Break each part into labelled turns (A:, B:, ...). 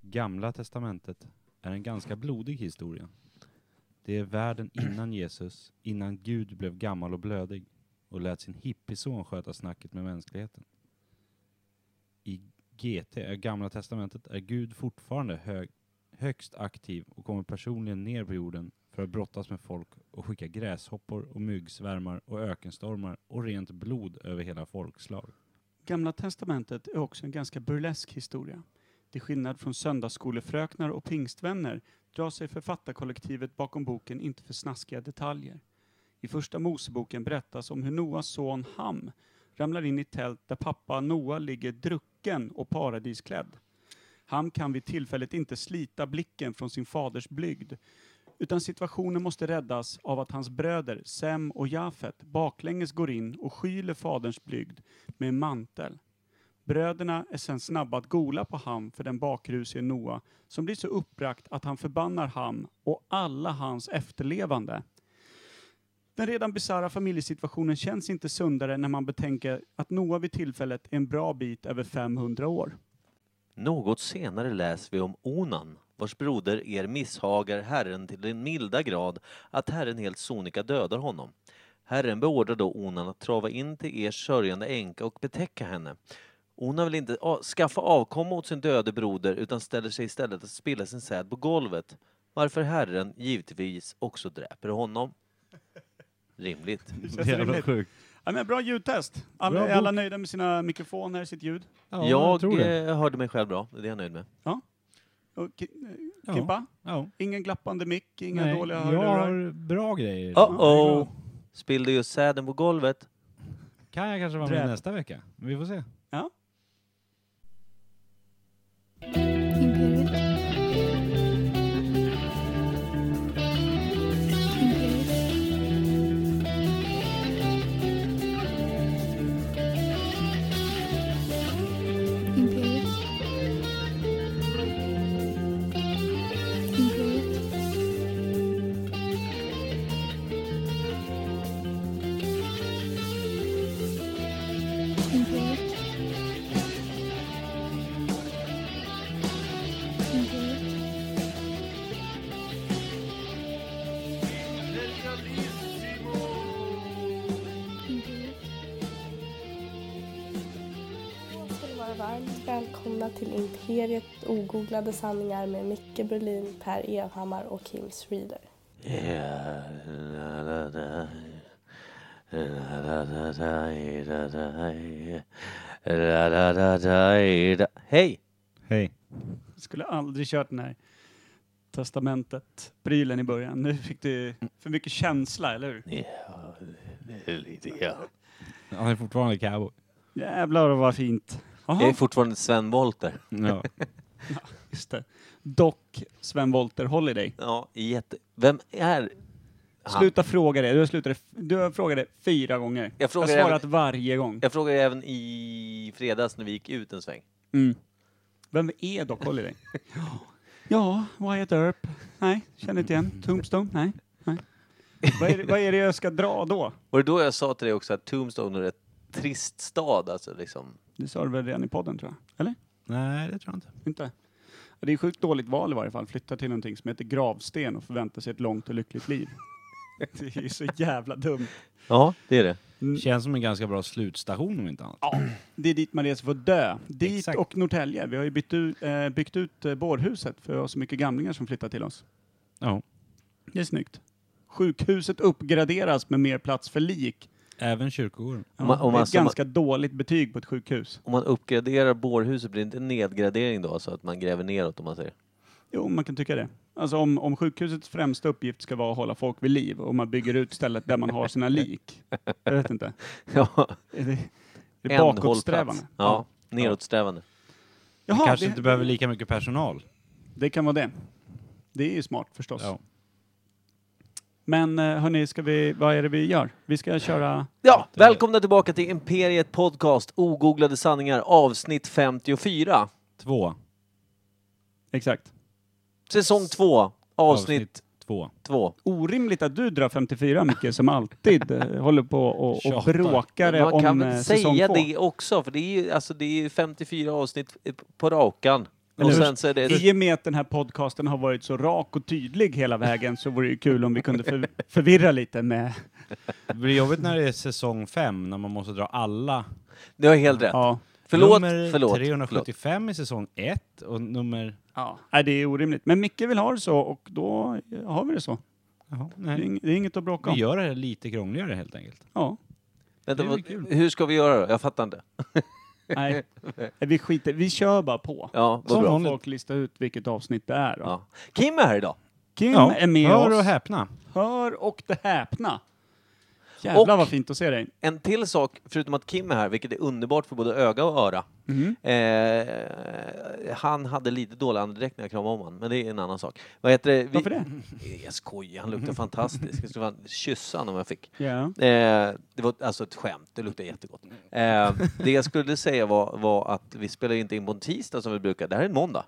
A: Gamla testamentet är en ganska blodig historia. Det är världen innan Jesus, innan Gud blev gammal och blödig och lät sin hippieson sköta snacket med mänskligheten. I GT, eh, Gamla testamentet, är Gud fortfarande hög, högst aktiv och kommer personligen ner på jorden för att brottas med folk och skicka gräshoppor och myggsvärmar och ökenstormar och rent blod över hela folkslag.
B: Gamla testamentet är också en ganska burlesk historia. Till skillnad från söndagsskolefröknar och pingstvänner drar sig författarkollektivet bakom boken inte för snaskiga detaljer. I första Moseboken berättas om hur Noas son Ham ramlar in i ett tält där pappa Noa ligger drucken och paradisklädd. Ham kan vid tillfället inte slita blicken från sin faders blygd utan situationen måste räddas av att hans bröder Sem och Jafet baklänges går in och skyler faderns blygd med en mantel. Bröderna är sen snabba att gola på Ham för den bakrusige Noa som blir så uppbragt att han förbannar Ham och alla hans efterlevande. Den redan bisarra familjesituationen känns inte sundare när man betänker att Noa vid tillfället är en bra bit över 500 år.
C: Något senare läser vi om Onan, vars broder er misshagar Herren till den milda grad att Herren helt sonika dödar honom. Herren beordrar då Onan att trava in till er sörjande änka och betäcka henne. Onan vill inte a- skaffa avkomma åt sin döde broder utan ställer sig istället att spilla sin säd på golvet, varför Herren givetvis också dräper honom. Rimligt.
B: känns
A: Jävla
B: rimligt.
A: sjukt.
B: Ja, men bra ljudtest! Alla,
A: Bra
B: är alla
A: bok.
B: nöjda med sina mikrofoner, sitt ljud?
C: jag eh, hörde mig själv bra, det är jag nöjd med.
B: Och, Ki- eh,
D: Ja.
B: Kimpa?
D: Ja.
B: Ingen glappande mick, inga
D: Nej,
B: dåliga
D: Jag
B: hörlurar?
D: har bra grejer.
C: Uh-oh! Spillde just säden på golvet.
D: Kan jag kanske vara med
B: Dräp.
D: nästa vecka? Vi får se.
E: Imperiet. Imperiet. Imperiet. Imperiet. Imperiet. Imperiet.
B: Mm-hmm.
E: Imperiet.
F: Jag ska ni vara varmt välkomna till Imperiet ogooglade sanningar med Micke Berlin, Per Evhammar och Kim Reader.
C: Hej!
A: Hej.
B: Skulle aldrig kört den här testamentet-prylen i början. Nu fick du för mycket känsla, eller hur?
C: Lite grann.
A: Han är fortfarande cowboy.
B: Jävlar vad fint.
C: Jag är
B: Jaha,
C: fortfarande Sven Wollter.
A: Ja.
B: just det. Dock Sven Wollter Holiday.
C: Ja, jätte... Vem är... Han.
B: Sluta fråga det. Du har, slutat, du har frågat det fyra gånger.
C: Jag frågar
B: har svarat varje gång.
C: Jag frågade även i fredags när vi gick ut en sväng.
B: Mm. Vem är Doc Holiday? ja, Wyatt Earp. Nej, känner inte igen. Tombstone? Nej. nej. vad, är det, vad är det jag ska dra då?
C: Var det då jag sa till dig också att Tombstone är ett trist stad, alltså liksom.
B: Det sa du väl redan i podden tror jag? Eller?
A: Nej, det tror jag inte.
B: Inte? Ja, Det är sjukt dåligt val i varje fall. Flytta till någonting som heter gravsten och förvänta sig ett långt och lyckligt liv. Det är ju så jävla dumt.
C: Ja, det är det.
A: Känns som en ganska bra slutstation om inte annat.
B: Det är dit man reser för att dö. Dit
A: Exakt.
B: och Norrtälje. Vi har ju bytt ut, eh, byggt ut eh, bårhuset för vi har så mycket gamlingar som flyttar till oss.
A: Ja.
B: Det är snyggt. Sjukhuset uppgraderas med mer plats för lik.
A: Även kyrkogården.
B: Ja,
C: Om man-
B: det är
C: om man-
B: ett ganska dåligt betyg på ett sjukhus.
C: Om man uppgraderar bårhuset blir det inte en nedgradering då, så att man gräver neråt om man säger.
B: Jo, man kan tycka det. Alltså om, om sjukhusets främsta uppgift ska vara att hålla folk vid liv och man bygger ut stället där man har sina lik. Jag vet inte.
C: Ja,
B: Är det, är det
C: en
B: bakåtsträvande?
C: hållplats. Ja, nedåtsträvande.
B: Jaha,
A: Kanske
B: det,
A: inte behöver lika mycket personal.
B: det kan vara det. Det är ju smart förstås.
A: Ja.
B: Men eh, hörni, ska vi, vad är det vi gör? Vi ska köra...
C: Ja, välkomna tillbaka till Imperiet Podcast, ogooglade sanningar, avsnitt 54.
A: Två.
B: Exakt.
C: Säsong 2, avsnitt
A: två.
C: 2.
B: Orimligt att du drar 54 Micke, som alltid eh, håller på och, och
A: Tjatar.
B: bråkar
C: Man
B: om
C: kan
B: eh,
C: väl
B: säsong
C: säga
B: två.
C: det också, för det är ju alltså, det är ju 54 avsnitt på rakan.
B: Eller
C: och
B: hur?
C: sen så är det
B: I och med att den här podcasten har varit så rak och tydlig hela vägen så vore det ju kul om vi kunde för, förvirra lite med...
A: Det blir jobbigt när det är säsong fem, när man måste dra alla.
C: Du har helt rätt.
B: Ja.
C: Förlåt,
A: nummer
C: förlåt.
A: 375 i säsong ett och nummer...
B: ja. Nej, det är orimligt. Men Micke vill ha det så och då har vi det så.
A: Jaha,
B: Det är,
A: nej.
B: ing- det är inget att bråka
A: Vi
B: om.
A: gör det här lite krångligare helt enkelt.
B: Ja.
C: Vänta,
A: Det är
C: vad,
A: väl kul.
C: hur ska vi göra då? Jag fattar inte.
B: Nej. Nej, Vi skiter, vi kör bara på.
C: Ja,
B: Så
C: vad bra.
B: får folk lista ut vilket avsnitt det är. Då.
C: Ja. Kim är här idag.
B: Kim
A: Ja,
B: är med
A: Hör
B: oss.
A: och häpna.
B: Hör och det häpna. Jävlar
C: Och-
B: vad fint att se dig.
C: En till sak, förutom att Kim är här, vilket är underbart för både öga och öra.
B: Mm.
C: Eh, han hade lite dålig andedräkt när jag kramade om honom, men det är en annan sak. Vad heter det? Vi-
B: Varför det?
C: Jag skojar, han luktar fantastiskt. Jag skulle fan kyssa honom om jag fick.
B: Ja.
C: Eh, det var alltså ett skämt, det luktar jättegott. Eh, det jag skulle säga var, var att vi spelar inte in på en tisdag som vi brukar, det här är en måndag.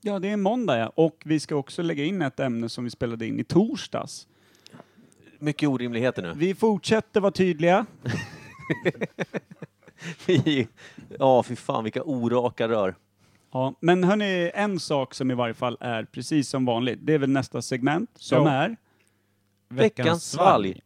B: ja, det är måndag ja. Och vi ska också lägga in ett ämne som vi spelade in i torsdags.
C: Mycket orimligheter nu.
B: Vi fortsätter vara tydliga.
C: Vi- ja, fy fan vilka oraka rör.
B: Ja, men hörni, en sak som i varje fall är precis som vanligt, det är väl nästa segment som
A: Ja.
B: är...
C: Veckans svalg.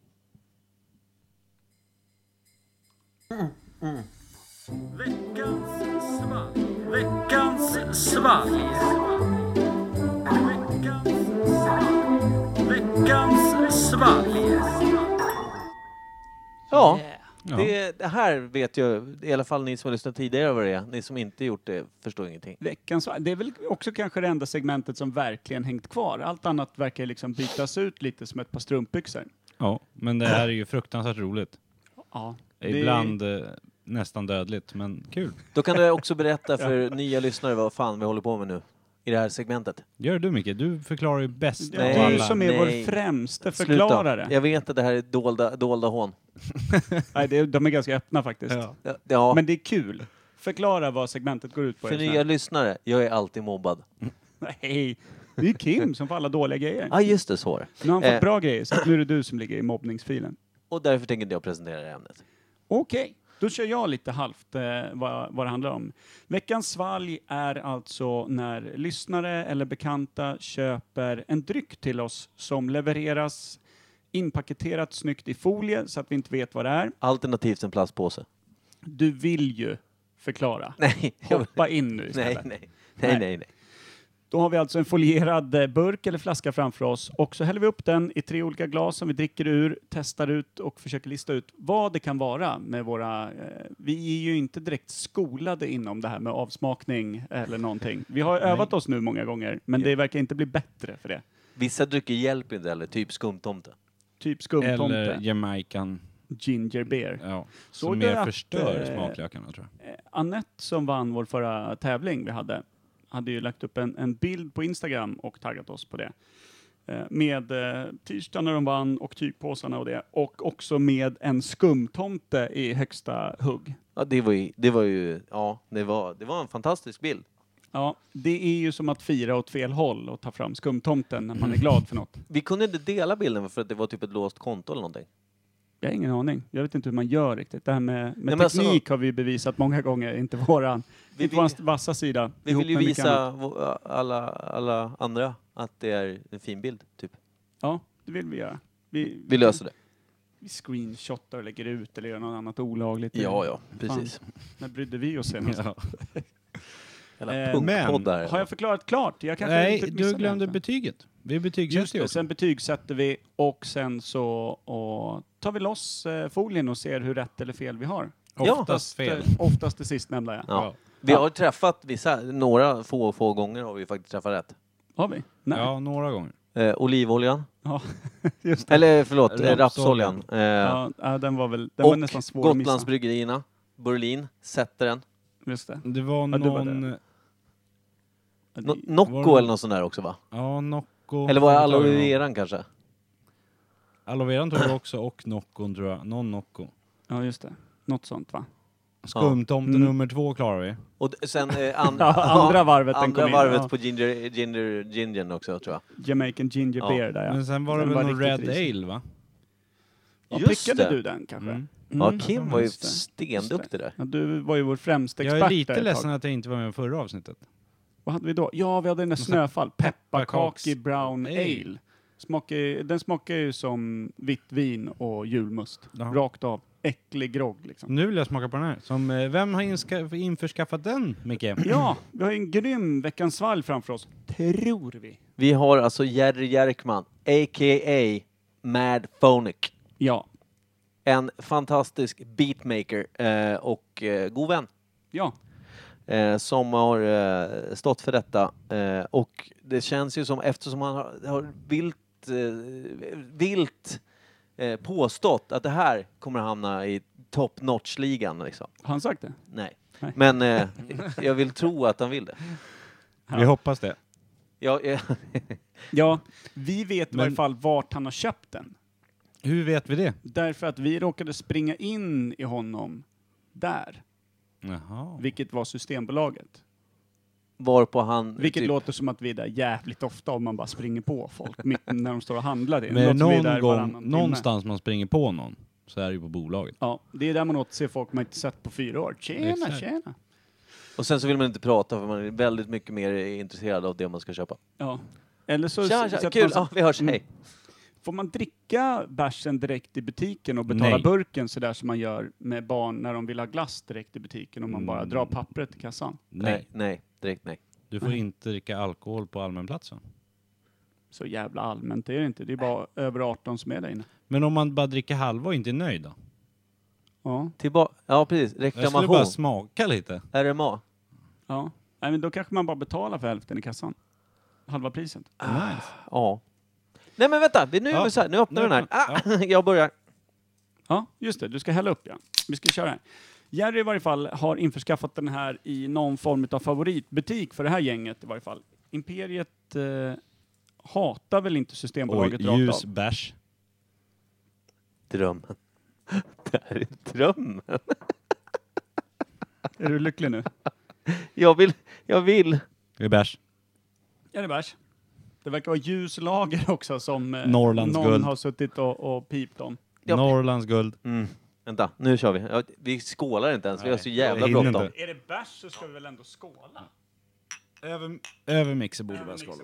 C: Ja, det, det här vet ju i alla fall ni som har lyssnat tidigare vad det är. Ni som inte gjort det förstår ingenting.
B: Veckans, det är väl också kanske det enda segmentet som verkligen hängt kvar. Allt annat verkar liksom bytas ut lite som ett par strumpbyxor.
A: Ja, men det här är ju fruktansvärt roligt.
B: Ja.
A: Ibland eh, nästan dödligt, men kul.
C: Då kan du också berätta för nya lyssnare vad fan vi håller på med nu i det här segmentet.
A: Gör du Micke, du förklarar ju bäst
B: Det
A: av
B: är
C: Nej.
B: du
A: alla.
B: som är vår
C: Nej.
B: främste
C: Sluta.
B: förklarare.
C: Jag vet att det här är dolda, dolda hån.
B: Nej, det, de är ganska öppna faktiskt.
A: Ja.
C: Ja, Ja,
B: Men det är kul. Förklara vad segmentet går ut på.
C: för
B: Erik.
C: nya lyssnare, jag är alltid mobbad.
B: Nej, det är ju Kim som får alla dåliga grejer.
C: Ja, ah, just det, så var det.
B: Nu har han fått
C: Eh.
B: bra grejer, så att nu är det du som ligger i mobbningsfilen.
C: Och därför tänker inte jag presentera det här ämnet.
B: Okej, då kör jag lite halvt eh, vad, vad det handlar om. Veckans svalg är alltså när lyssnare eller bekanta köper en dryck till oss som levereras inpaketerat snyggt i folie så att vi inte vet vad det är.
C: Alternativt en plastpåse.
B: Du vill ju förklara.
C: Nej, jag vill-
B: Hoppa in nu istället.
C: nej, nej, nej, nej, nej.
B: Då har vi alltså en folierad eh, burk eller flaska framför oss och så häller vi upp den i tre olika glas som vi dricker ur, testar ut och försöker lista ut vad det kan vara med våra... Eh, vi är ju inte direkt skolade inom det här med avsmakning eller någonting. Vi har övat oss nu många gånger, men det verkar inte bli bättre för det.
C: Vissa drycker hjälper inte heller, typ skumtomte.
B: Typ skumtomte,
A: Eller Jamaican.
B: ginger beer.
A: Ja,
B: Såg
A: som
B: du
A: mer
B: att,
A: förstör
B: eh,
A: smaklökarna tror jag.
B: Annette som vann vår förra tävling vi hade, hade ju lagt upp en, en bild på Instagram och taggat oss på det. Eh, Med eh, t-shirtarna de vann och tygpåsarna och det. Och också med en skumtomte i högsta hugg.
C: Ja, det var ju, det var ju, ja, det var, det var en fantastisk bild.
B: Ja, det är ju som att fira åt fel håll och ta fram skumtomten när man är glad för något.
C: Vi kunde inte dela bilden för att det var typ ett låst konto eller någonting.
B: Jag har ingen aning. Jag vet inte hur man gör riktigt. Det här med, med
C: men alltså-
B: teknik har vi ju bevisat många gånger, inte våran.
C: Vi
B: inte
C: vill-
B: våran vassa sida.
C: Vi
B: ihop
C: vill ju
B: med mycket annat.
C: visa vå- alla, alla andra att det är en fin bild, typ.
B: Ja, det vill vi göra. Vi,
C: Vi löser det.
B: vi screenshotar och lägger ut eller gör något annat olagligt.
C: Ja, ja, precis.
B: När brydde vi oss senast?
A: Ja.
C: Hela
B: Eh,
C: punkpodd där.
B: Har jag förklarat klart? Jag kanske
A: Nej,
B: inte
A: du
B: missade
A: glömde
B: det.
A: betyget. Vi
B: Just
A: betygsätter ju
B: det,
A: också.
B: sen betygsätter vi och sen så och tar vi loss eh, folien och ser hur rätt eller fel vi har.
C: Ja.
A: Oftast fel.
B: Eh, Oftast det sistnämnda ja.
C: Ja. Vi
B: Ja.
C: har träffat vissa, några få, få gånger har vi faktiskt träffat rätt.
B: Har vi? Nej.
A: Ja, några gånger.
C: Eh, olivoljan.
B: Ja, just det.
C: Eller förlåt, eh,
A: Rapsoljan.
C: rapsoljan. Eh,
B: Ja, ja, den var väl den var nästan
C: och
B: svår att missa.
C: Gotlandsbryggerierna. Berlin. Sätteren.
B: Just det.
A: Det var
B: Ja, du var
A: någon...
B: Ja,
C: No
B: det-
A: Var
C: Nocco
A: det-
C: eller något sånt där också va?
A: ja, Nocco.
C: Eller var det
A: Antagligen
C: aloe
A: någon.
C: veran kanske?
A: Aloe veran tog jag också och Noccon tror jag. Någon Nocco.
B: Ja, just det. Något sånt va?
A: Skumtomte
B: Mm.
A: nummer två klarar vi.
C: Och d- sen eh, an-
B: Ja, andra varvet den
C: andra
B: kom in.
C: varvet
B: Ja.
C: på ginger, ginger, gingern också tror jag.
B: Jamaican ginger
C: Ja.
B: beer där ja.
A: Men sen var det
B: Den
A: väl
B: var
A: någon Red
B: riktigt risig.
A: Ale va?
B: Ja,
C: Just
B: prickade
C: det.
B: du den kanske?
A: Mm.
B: Mm.
C: ja, Kim var ju
B: Just det.
C: stenduktig där.
B: Ja, du var ju vår främsta expert
A: Jag är
B: där
A: lite
B: ett tag.
A: ledsen att jag inte var med i förra avsnittet.
B: Vad hade vi då? Ja, vi hade den där
A: sån här
B: Snöfall. Pepparkaki
A: pepparkaks-
B: Brown Ale.
A: Ale.
B: Smakar, den smakar ju som vitt vin och julmust.
A: Ja.
B: Rakt av. Äcklig grogg liksom.
A: Nu vill jag smaka på den här. Som, eh, vem har inska- införskaffat den, Micke?
B: Ja, vi har ju en grym Veckans Valg framför oss. Tror vi.
C: Vi har alltså Jerry Jerkman, a.k.a. Mad Phonic.
B: Ja.
C: En fantastisk beatmaker eh, och eh, god vän.
B: Ja.
C: eh, som har eh, stått för detta. Eh, och det känns ju som, eftersom han har, har vilt, eh, vilt eh, påstått att det här kommer att hamna i top notch-ligan. Liksom.
B: Har han sagt det?
C: Nej.
B: Nej.
C: Men eh, jag vill tro att han vill det.
A: Vi hoppas det.
C: Jag, eh,
B: Ja. Vi vet i
A: Men-
B: varje fall vart han har köpt den.
A: Hur vet vi det?
B: Därför att vi råkade springa in i honom där.
A: Jaha.
B: Vilket var Systembolaget.
C: varpå han...
B: Vilket
C: typ-
B: låter som att vi är där jävligt ofta om man bara springer på folk mitt när de står och handlar. Det,
A: Men är det
B: låter som vi är
A: någon
B: där varannan
A: gång,
B: timme.
A: någonstans man springer på någon, så är det ju på bolaget.
B: Ja, det är där man återser folk man inte sett på fyra år. Tjena,
A: Exakt.
B: tjena!
C: Och sen så vill man inte prata för man är väldigt mycket mer intresserad av det man ska köpa.
B: Ja. Eller så Mm.
C: Tja,
B: s-
C: tja,
B: sätter
C: kul! Ah.
B: man sig-
C: Ja, vi hörs, hej!
B: Får man dricka bärsen direkt i butiken och betala
A: Nej.
B: burken sådär som man gör med barn när de vill ha glass direkt i butiken och man bara
A: Mm.
B: drar pappret i kassan?
A: Nej.
C: Nej, direkt nej.
A: Du får inte dricka alkohol på allmän plats va?
B: Så jävla allmänt är det inte. Det är bara över 18 som är där inne.
A: Men om man bara dricker halva och inte är nöjd då?
B: Ja.
C: Tillbaka... Ja, precis.
A: Jag skulle bara
C: Reklamation.
A: smaka lite.
C: RMA.
B: ja. Nej, men då kanske man bara betalar för hälften i kassan. Halva priset.
A: Nice.
C: Ja. Nej men vänta, vi- nu, är
A: Ja.
C: vi så här, nu öppnar
A: Nu
C: vi den här. Ah, jag börjar.
B: Ja, just det. Du ska hälla upp ja. Vi ska köra här. Jerry i varje fall har införskaffat den här i någon form av favoritbutik för det här gänget i varje fall. Imperiet eh, hatar väl inte
A: Oj,
B: Systembolaget
A: ljus
B: rakt av?
A: bärs.
C: Drömmen. Det här är drömmen.
B: Är du lycklig nu?
C: Jag vill, jag vill.
A: Det är bärs.
B: Är det bärs? Det verkar vara ljuslager också som eh,
A: Norrlands
B: någon
A: guld.
B: har suttit och, och pipt om.
C: Ja.
A: Norrlands guld.
C: Mm. Vänta, nu kör vi. Ja, Vi skålar inte ens, vi har så jävla
A: jag hinner
C: bråttom.
A: inte.
B: Är det bärs så ska vi väl ändå skåla?
A: Över, över mixer borde bara skåla.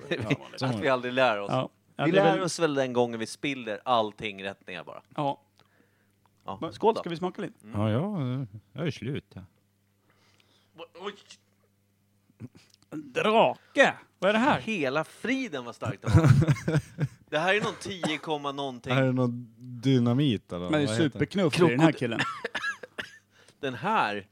C: Att vi aldrig lär oss.
B: Ja. Ja,
C: Vi
B: det är
C: lär
B: väl-
C: oss väl den gången vi spiller allting rättningar bara.
B: Ja.
C: Ja.
B: Men
C: Skål då.
B: Ska vi smaka lite?
A: Ja, ja, jag är slut. ja.
B: Drake! Vad är det här?
C: Hela friden var starkt. det var. Det här är någon 10, komma någonting.
A: Är det någon dynamit eller?
B: Men det är
A: vad heter
B: superknuff i den här
C: Krokod-
B: killen.
C: Den här.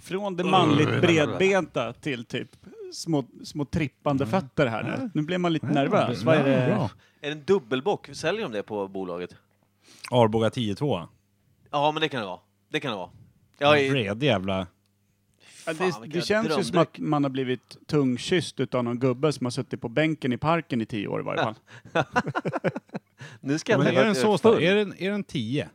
B: Från det manligt bredbenta till typ små, små trippande fötter här nu. Nu blir man lite nervös. Vad är det?
A: Bra.
C: Är det en dubbelbock? Säljer de det på bolaget?
A: Arboga 10-2.
C: Ja, men det kan det vara. Det kan det vara.
A: En
C: Jag är,
A: Vredig jävla...
B: Ja,
C: Fan,
B: det,
C: vilken
B: det känns ju som
C: drömdryck.
B: att man har blivit tungkysst utav någon gubbe som har suttit på bänken i parken i tio år i varje fall.
C: Nu ska jag
A: Men
C: tänka
A: är den
C: att jag
A: så stark?
C: full.
A: Är den, är den 10?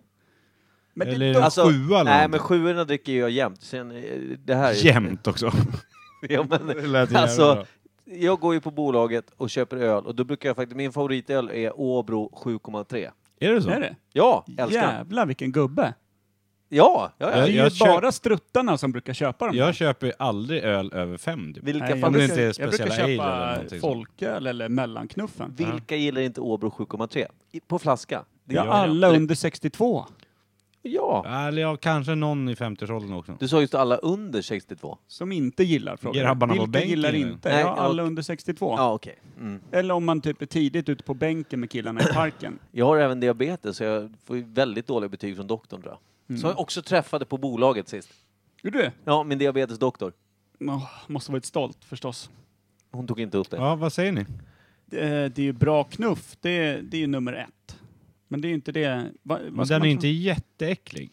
B: Men
A: Eller
B: det,
A: är den
C: Alltså,
A: sjua eller
C: Nej,
A: nej,
C: men sjuorna dricker jag jämt. Sen, eh, det här är-
A: Jämt också.
C: Ja, men,
A: Det lät jävla
C: alltså,
A: bra.
C: jag går ju på bolaget och köper öl och då brukar jag faktiskt, min favoritöl är Åbro 7,3.
A: Är det så?
B: är det?
C: Ja, älskar den.
B: Jävlar vilken gubbe!
C: Ja, ja,
B: Det är
C: ja.
A: Jag-
B: ju
A: jag kö-
B: bara struttarna som brukar köpa dem.
A: Jag köper ju aldrig öl över 5. Typ.
C: Vilka,
B: Nej,
C: fan,
A: det
B: brukar-
A: inte är
B: jag brukar
A: speciella ale eller
B: köpa
A: någonting sånt.
B: folköl eller mellanknuffen.
C: vilka gillar inte Åbro 7,3? I- På flaska. Det
B: Ja,
C: gör jag.
B: alla under 62.
C: Ja.
A: Eller ja, kanske någon i 50-årsåldern också.
C: Du sa just alla under 62.
B: Som inte gillar frågan.
A: Grabbarna på
B: Vilka
A: bänken
B: gillar
A: nu?
B: inte?
C: Nej,
B: ja,
C: jag-
B: alla under 62.
C: Ja, okej. Mm.
B: Eller om man typ är tidigt ute på bänken med killarna i parken.
C: Jag har även diabetes så jag får ju väldigt dåliga betyg från doktorn tror jag.
B: Mm.
C: Som jag också träffade på bolaget sist.
B: Gjorde du?
C: Ja, min diabetesdoktor.
B: Åh, måste varit stolt förstås.
C: Hon tog inte upp det.
A: Ja, vad säger ni?
B: Det, är- det är ju bra knuff, det, är- det är ju nummer ett. Men det är ju inte det... Va, vad
A: Men
B: ska
A: den är
B: man tro?
A: inte jätteäcklig.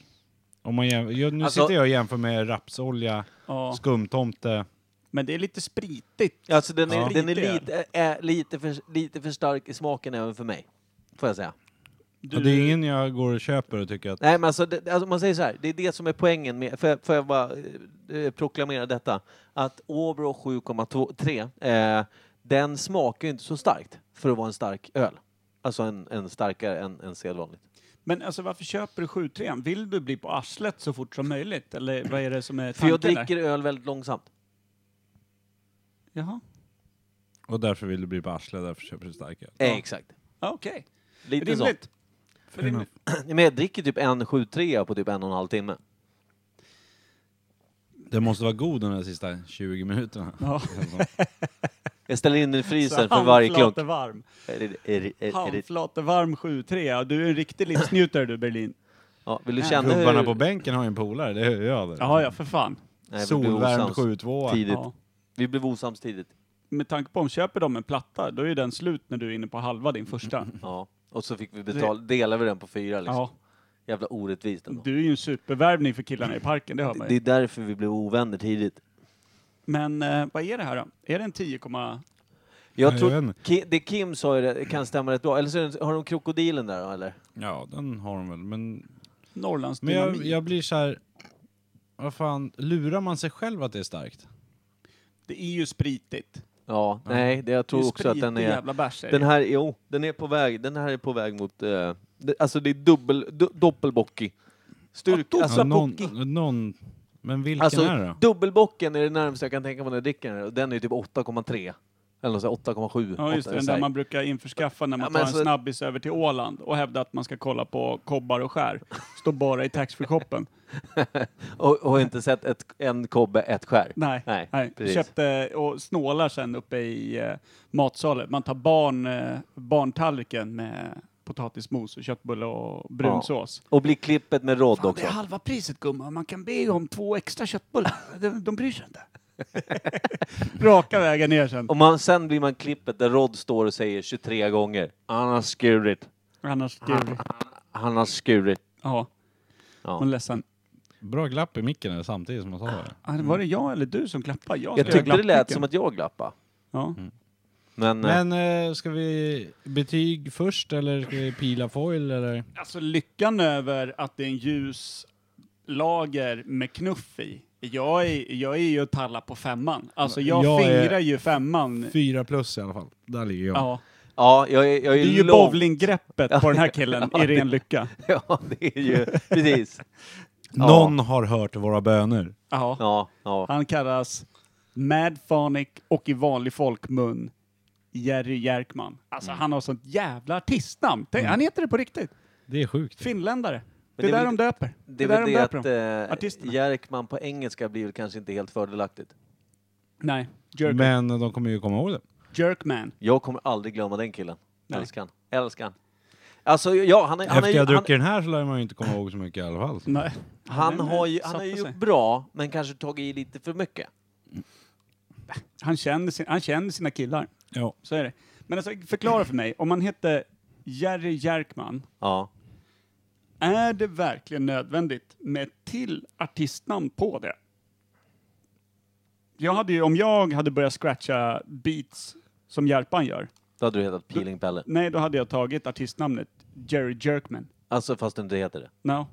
A: Om man jäm... jag, nu
C: Alltså-
A: sitter jag och jämför med rapsolja,
B: Ja,
A: skumtomte.
B: men det är lite spritigt.
C: Alltså den är,
B: Ja.
C: den är
B: Lite öl.
C: lite, är lite, för, lite för stark i smaken även för mig. Får jag säga.
B: Du,
A: Och det är ingen jag går och köper och tycker att...
C: Nej men alltså, det, alltså man säger så här, det är det som är poängen med, får jag, får jag bara eh, proklamera detta, att Åbro 7,3, eh, den smakar ju inte så starkt för att vara en stark öl. Alltså en, en starkare än, än sedvanligt.
B: Men alltså varför köper du 7 Vill du bli på arslet så fort som möjligt? Eller vad är det som är
C: För jag
B: tanken där?
C: dricker öl väldigt långsamt.
B: Jaha.
A: Och därför vill du bli på arslet, därför köper du starköl.
C: Eh, Exakt.
B: Ja, Okej,
C: Lite så.
B: rimligt. För rimligt.
C: Men jag dricker typ en 7-3 på typ en och en halv timme.
A: Det måste vara god de här sista 20 minuterna. Alltså,
B: Ja.
C: Jag ställer in den i frysen för
B: Så
C: varje klunk.
B: handflate varm.
C: Är det- är det- är det-
B: Handflate varm 7-3. Ja, du är en riktig livsnjutare du Berlin.
C: Ja, vill du känna hur...
A: Gubbarna på bänken har ju en polare, det hör jag. där.
B: Ja, ja för fan.
C: Nej, vi blev
A: Solvärmd
C: osams
A: 7-2.
C: Tidigt.
B: Ja.
C: Vi blev osams tidigt.
B: Med tanke på om köper de en platta, då är ju den slut när du är inne på halva din första.
C: Ja. Och så fick vi betala, delade vi den på fyra liksom.
B: Ja,
C: Jävla orättvist ändå.
B: du är ju en supervärvning för killarna i parken, det hör man
C: Det
B: ju.
C: är därför vi blev ovänner tidigt.
B: Men eh, vad är det här då? Är det en 10,
C: Jag
A: Ja,
C: tror,
A: jag vet
C: Ki- det Kim sa ju det kan stämma rätt bra. Eller så är det- har de krokodilen där då, eller?
A: Ja, den har de väl. Men,
B: Norrlands
A: men jag,
B: dynamit?
A: jag blir så här. Vad fan, lurar man sig själv att det är starkt?
B: Det är ju spritigt.
C: Ja, nej, det, jag tror
B: det är
C: också att den
B: spritig
C: är...
B: jävla bärs. är
C: Den
B: det.
C: här, jo, den är på väg, den här är på väg mot... eh, det, alltså det är dubbel, du, doppelbockig. Styrk,
B: Ja,
C: alltså,
A: någon, någon, men vilken
C: alltså
A: är det då?
C: dubbelbocken är det närmaste jag kan tänka mig när jag dricker den. Och den är typ 8,3. Eller något sånt, 8,7.
B: Ja, just det.
C: åtta,
B: Den
C: så här.
B: där man brukar införskaffa när man
C: Ja,
B: tar
C: men
B: en
C: så-
B: snabbis över till Åland och hävdar att man ska kolla på kobbar och skär. Står bara i taxfree-shoppen.
C: och, och inte sett ett, en kobbe, ett skär.
B: Nej,
C: Nej,
B: nej,
C: precis.
B: köpte och snålar sen uppe i eh, matsalen. Man tar barn, eh, barntallriken med potatismos och köttbullar och brunsås.
C: Och blir klippet med rodd
B: Fan, det
C: också.
B: är halva priset gumman, man kan be om två extra köttbullar. De, de bryr sig inte. Raka vägen ner sen.
C: Och man, sen blir man klippet där Rod står och säger 23 gånger. Han har skurit.
B: Annars, gud.
C: Han har skurit.
B: Ja,
C: Ja.
B: hon är ledsen.
A: Bra glapp i micken där samtidigt som man sa det.
B: Ah, Var det jag eller du som klappade? Jag,
C: Jag
B: som
C: tyckte det lät
B: glappade.
C: som att jag glappade.
B: Ja.
C: Men, eh,
A: Men eh, ska vi betyg först eller ska vi pila foil eller?
B: Alltså lyckan över att det är en ljus lager med knuff i. Jag är, jag är ju att talla på femman. Alltså jag,
A: Jag är-
B: fingrar ju femman.
A: Fyra plus i alla fall. Där ligger jag.
B: Ja.
C: ja, jag är, jag är,
B: Det är ju
C: lång.
B: bowlinggreppet på den här killen i ren lycka.
C: Ja, det är ju, precis.
A: Någon har hört våra böner.
B: Ja.
C: Ja, ja.
B: Han kallas Mad Phonic och i vanlig folkmun Jerry Jerkman. Alltså
C: Mm.
B: han har sånt jävla artistnamn. Tänk, Han heter det på riktigt.
A: Det är sjukt.
B: Finländare. Det är,
C: det är
B: där
C: väl-
B: de döper.
C: Det är
B: där
C: väl
B: de
C: det
B: döper
C: att
B: dem.
C: eh,
B: Artisterna.
C: Jerkman på engelska blir väl kanske inte helt fördelaktigt.
B: Nej, Jerk,
A: Men de kommer ju komma ihåg det.
B: Jerkman.
C: Jag kommer aldrig glömma den killen.
B: Nej.
C: Älskar han. Älskar han. Alltså, ja, han, är, han,
A: Efter
C: är,
A: jag
C: han,
A: druckit den här så lär man ju inte komma ihåg så mycket i alla fall.
B: Nej.
C: han
B: Den
C: har ju, han
B: satte
C: har ju
B: sig.
C: gjort bra, men kanske tagit i lite för mycket.
B: Han känner, sin, han känner sina killar.
A: Ja.
B: Så är det. Men alltså, förklara för mig, om man heter Jerry Jerkman,
C: Ja.
B: är det verkligen nödvändigt med ett till artistnamn på det? Jag hade ju, om jag hade börjat scratcha beats som Järpan gör,
C: Då hade du hetat Peeling Pelle.
B: nej då hade jag tagit artistnamnet Jerry Jerkman.
C: Alltså, fast du inte heter det.
B: No.